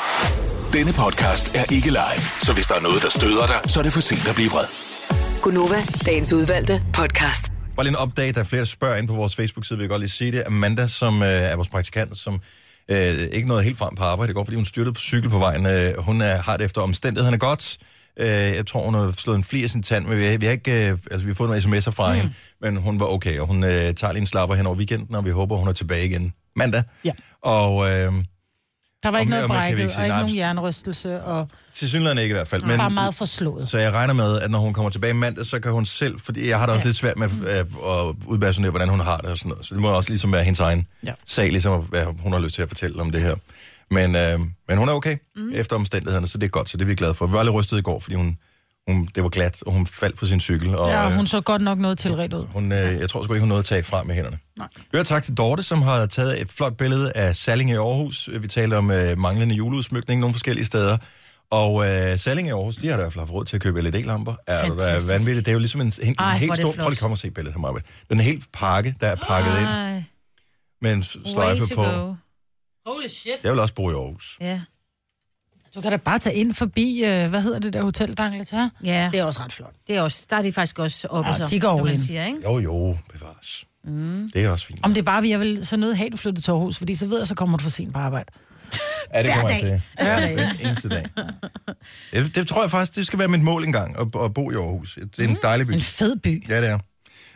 Denne podcast er ikke live, så hvis der er noget, der støder dig, så er det for sent at blive vred. Gunova, dagens udvalgte podcast. Bare lige en update, der er flere, der spørger ind på vores Facebook-side, vil jeg godt lige sige det. Amanda, som øh, er vores praktikant, som øh, ikke nåede helt frem på arbejde i går, fordi hun styrtede på cykel på vejen. Øh, hun er, har det efter omstændighederne godt. Øh, jeg tror, hun har slået en flir i sin tand, men vi, har- vi, har, ikke, øh, altså, vi har fået nogle sms'er fra mm. hende, men hun var okay, og hun øh, tager lige en slapper hen over weekenden, og vi håber, hun er tilbage igen mandag. Ja. Og øh, Der var Og mere- ikke noget og man kan brækket, vi og ikke sige, ikke nej, nogen men- jernrystelse, og til synligheden ikke i hvert fald. men, Men, bare meget forslået. Så jeg regner med, at når hun kommer tilbage mandag, så kan hun selv, fordi jeg har da også ja. lidt svært med øh, at udpersonere, hvordan hun har det og sådan noget. Så det må også ligesom være hendes egen ja. Ja. sag, ligesom at- hvad hun har lyst til at fortælle om det her. Men, øh, men hun er okay mm. efter omstændighederne, så det er godt, så det er vi glade for. Vi var lidt rystet i går, fordi hun, hun, det var glat, og hun faldt på sin cykel. Og, Ja, øh, og hun så godt nok noget tilret ud. hun, øh, jeg tror sgu ikke, hun nåede at tage frem med hænderne. Nej. Hør tak til Dorte, som har taget et flot billede af Salling i Aarhus. Vi taler om øh, manglende juleudsmykning nogle forskellige steder. Og øh, Salling i Aarhus, de har da i hvert fald haft råd til at købe LED-lamper. Er det da Fantastisk. vanvittigt? Det er jo ligesom en, en, Ej, en hvor helt er det stor... flot. Prøv lige at komme og se billedet her, Marvind. Den er helt pakke, der er pakket Ej, ind Ej, med en way sløjfe to på. go. Holy shit. Jeg vil også bo i Aarhus. Ja. Du kan da bare tage ind forbi, øh, hvad hedder det der hotel, der er ja, Det er også ret flot. det er også, der er de faktisk også oppe Ja, så, de går som all man in. siger, ikke? Jo, jo, bevares. Mm. Det er også fint. Om det er bare, vi jeg vil så nødt have, at du flytter til Aarhus, fordi så ved jeg, så kommer du for sent på arbejde. Ja, det kommer Hver jeg til. Ja, hver eneste dag. Det, det tror jeg faktisk, det skal være mit mål engang, at, at bo i Aarhus. Det Mm. er en dejlig by. En fed by. Ja, det er.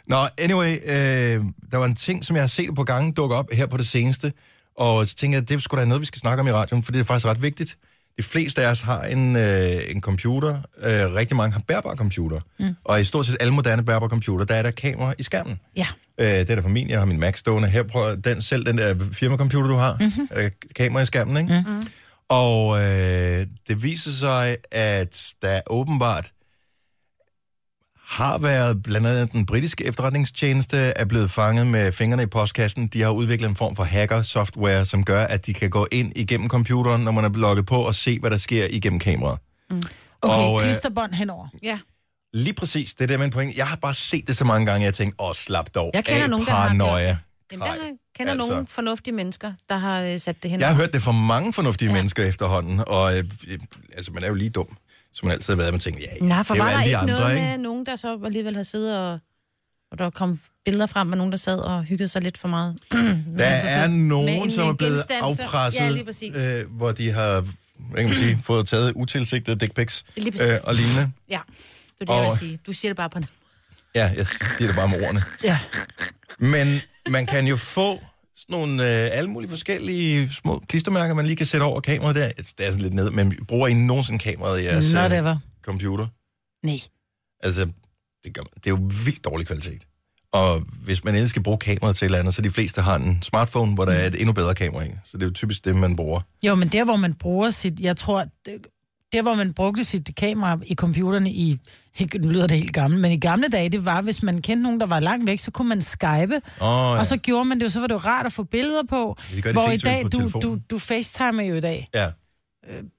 Nå, anyway, øh, der var en ting, som jeg har set på gange dukke op her på det seneste, og så tænker jeg, det skulle da noget, vi skal snakke om i radioen, for det er faktisk ret vigtigt. De fleste af os har en, øh, en computer, øh, rigtig mange har bærbare computer, mm. og i stort set alle moderne bærbare computer, der er der kamera i skærmen. Ja. Øh, det er der på min, jeg har min Mac stående. Her prøver den, selv den der firmacomputer, du har, mm-hmm. øh, kamera i skærmen, ikke? Mm-hmm. Og øh, det viser sig, at der åbenbart har været, blandt andet den britiske efterretningstjeneste, er blevet fanget med fingrene i postkassen. De har udviklet en form for hacker-software, som gør, at de kan gå ind igennem computeren, når man er logget på, og se, hvad der sker igennem kameraet. Okay, Og, og, øh, klisterbånd henover. Ja. Lige præcis, det er der min pointe. Jeg har bare set det så mange gange, at jeg tænkte, åh, slap dog Jeg kender af, nogen, der har paranoia. gjort Jamen, der Ej, har- kender altså. altså. nogle fornuftige mennesker, der har øh, sat det hen. Jeg har hørt det fra mange fornuftige ja. mennesker efterhånden, og øh, øh, altså, man er jo lige dum, som man altid har været. Man tænker, ja, ja, Nej, for det er var jo der alle de ikke andre, noget ikke? med nogen, der så alligevel havde siddet og... Og der kom billeder frem med nogen, der sad og hyggede sig lidt for meget. Der Altså, så er med nogen, en- som er en blevet genstand, så- Ja, afpresset, lige præcis. øh, hvor de har hvad kan man sige, fået taget utilsigtede dick pics Lige præcis. øh, og lignende. Ja, det er det, jeg Og- vil sige. Du siger det bare på den. Ja, jeg siger det bare med ordene. Ja. Men man kan jo få sådan nogle øh, alle mulige forskellige små klistermærker, man lige kan sætte over kameraet der. Altså, Det er sådan lidt ned, men bruger I nogensinde kameraet i jeres øh, Whatever. computer? Nej. Altså, det, gør man. det er jo vildt dårlig kvalitet. Og hvis man endelig skal bruge kameraet til et eller andet, så de fleste har en smartphone, hvor der Mm. er et endnu bedre kamera i. Så det er jo typisk det, man bruger. Jo, men der, hvor man bruger sit... Jeg tror, det- der, hvor man brugte sit kamera i computerne i... Nu lyder det helt gammelt, men i gamle dage, det var, hvis man kendte nogen, der var langt væk, så kunne man skype, Åh, ja. og så gjorde man det, jo, så var det jo rart at få billeder på. Ja, det gør de hvor i fleste jo dag, ikke på du, telefonen. du, du facetimer jo i dag ja.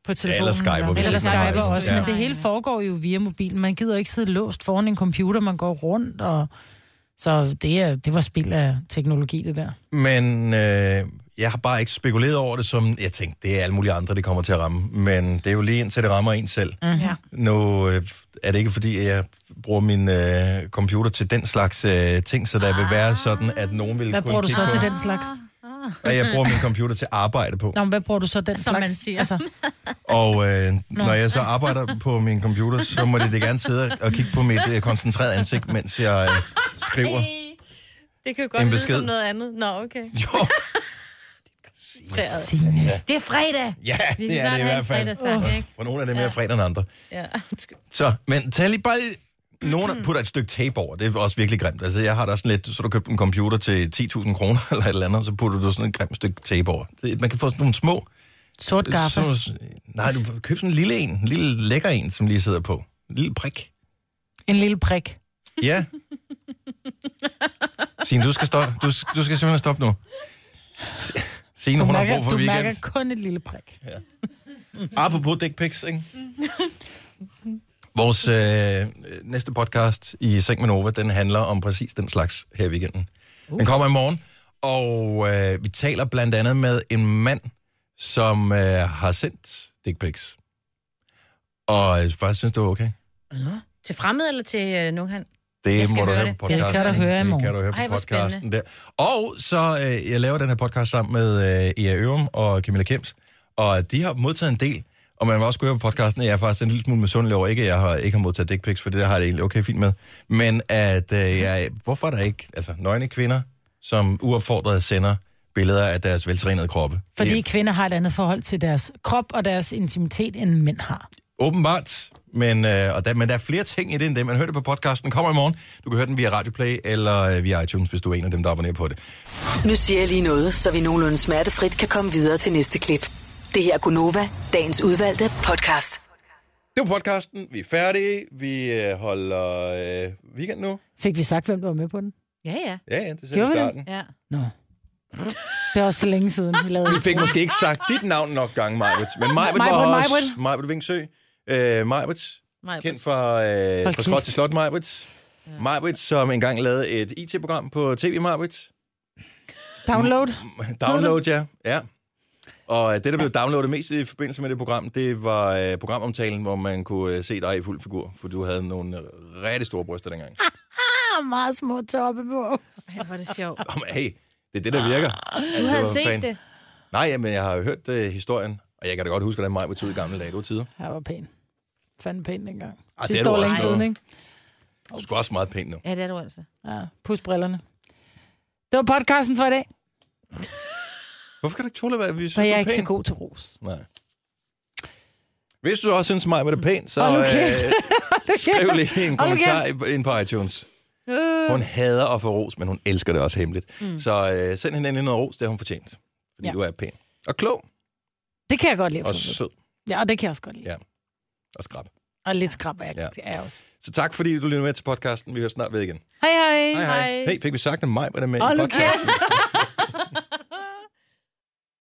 på telefonen. skyper, hvis Eller man har skyper det. også, Ja. ja. men det hele foregår jo via mobilen. Man gider ikke sidde låst foran en computer, man går rundt, og... Så det, er, det var spild af teknologi, det der. Men øh, jeg har bare ikke spekuleret over det, som jeg tænkte, det er alle mulige andre, det kommer til at ramme. Men det er jo lige indtil det rammer en selv. Mm. Ja. Nu øh, er det ikke fordi, jeg bruger min øh, computer til den slags øh, ting, så der vil være sådan, at nogen vil Ah. Hvad kunne bruger du kigge så på, til den slags? Ah. at jeg bruger min computer til arbejde på. Nå, men hvad bruger du så den Som slags? Altså, man siger. Og øh, når jeg så arbejder på min computer, så må det, det gerne sidde og kigge på mit øh, koncentrerede ansigt, mens jeg øh, skriver. Det kan jo En godt lyde besked. som noget andet. Nå, okay. Jo, Signe. Det er fredag. ja, Vi det skal er det snart i have en hvert fald. fredagssang, ikke? For nogle af dem er fredag end andre. Ja, undskyld. Så, men tag lige bare... Mm-hmm. Nogen putter et stykke tape over, det er også virkelig grimt. Altså, jeg har da sådan lidt, så du købt en computer til 10.000 kroner eller et eller andet, så putter du sådan et grimt stykke tape over. Det, man kan få sådan nogle små... Sort gaffe. Sådan, nogle- nej, du køber sådan en lille en, en lille lækker en, som lige sidder på. En lille prik. En lille prik. Ja. Signe, du skal, stoppe. Du, du skal simpelthen stoppe nu. Signe, Du hun har mærker, brug for du weekend. mærker kun et lille prik. Mm. Apropos dick pics, ikke? Vores øh, næste podcast i Seng med Nova, den handler om præcis den slags her i weekenden. Den kommer i morgen, og øh, vi taler blandt andet med en mand, som øh, har sendt dick pics. Og jeg faktisk synes, det var okay. Til fremmed eller til øh, nogen han? Jeg Det skal må du høre høre på det. Det podcasten. skal du høre i Det morgen. kan du høre på Ej, hvor podcasten der. Og så, øh, jeg laver den her podcast sammen med øh, Ea Ørum og Camilla Kems, og de har modtaget en del, og man må også gå høre på podcasten, at jeg er faktisk en lille smule misundelig over, ikke at jeg har, ikke har modtaget dick pics, for det der har jeg det egentlig okay fint med, men at øh, jeg, hvorfor er der ikke altså, nøgne kvinder, som uopfordret sender billeder af deres veltrænede kroppe? Fordi Det er kvinder har et andet forhold til deres krop og deres intimitet, end mænd har. Åbenbart, men, øh, og der, men der er flere ting i det end det. Man hører det på podcasten, kommer i morgen. Du kan høre den via Radioplay eller øh, via iTunes, hvis du er en af dem, der abonnerer på det. Nu siger jeg lige noget, så vi nogenlunde smertefrit kan komme videre til næste klip. Det her er Gunova, dagens udvalgte podcast. Det var podcasten. Vi er færdige. Vi øh, holder øh, weekend nu. Fik vi sagt, hvem der var med på den? Ja, ja. Ja, ja, det ser Gjorde vi i vi starten. det? ja. Nå. Det er også så længe siden, vi lavede Vi fik måske ikke sagt dit navn nok gange, Majbrit. Men Majbrit var Majbrit, også... Majbrit. Majbrit Vingsø. Øh, Majbrit, Majbrit. kendt fra, øh, fra kæft. Skråt til Slot, Majbrit. Majbrit, som engang lavede et IT-program på TV, Majbrit. download. Download, ja. ja. Og øh, det, der blev downloadet mest i forbindelse med det program, det var øh, programomtalen, hvor man kunne øh, se dig i fuld figur, for du havde nogle øh, rigtig store bryster dengang. Ah, meget små toppe på. Ej, hvor er det sjovt. Om, hey, det er det, der virker. Ah, Altså, Du havde hvad set fanden. det. Nej, men jeg har jo hørt øh, historien, og jeg kan da godt huske, hvordan mig betød i gamle dage. Det var tider. Jeg var pæn. Fanden pæn dengang. er Arh, Sidste du år også længe siden, blevet. ikke? Du skal også meget pænt nu. Ja, det er du altså. Ja, pus brillerne. Det var podcasten for i dag, Hvorfor kan du ikke tåle, at vi for synes, jeg du er er ikke så pæn? god til ros. Nej. Hvis du også synes, mig var det pænt, så Hold nu øh, kæft. skriv lige en Hold nu Øh. kommentar i- ind på iTunes. Hun hader at få ros, men hun elsker det også hemmeligt. Mm. Så øh, send hende endelig noget ros, det har hun fortjent. Fordi ja. Ja. du er pæn. Og klog. Det kan jeg godt lide. at få Og ved. sød. Ja, og det kan jeg også godt lide. Ja. Og skrab. Og lidt skrab er, Ja. ja. er jeg også. Så tak, fordi du lytter med til podcasten. Vi hører snart ved igen. Hej hej. Hey, fik vi sagt, at mig var der med Åh, i Lukas. podcasten?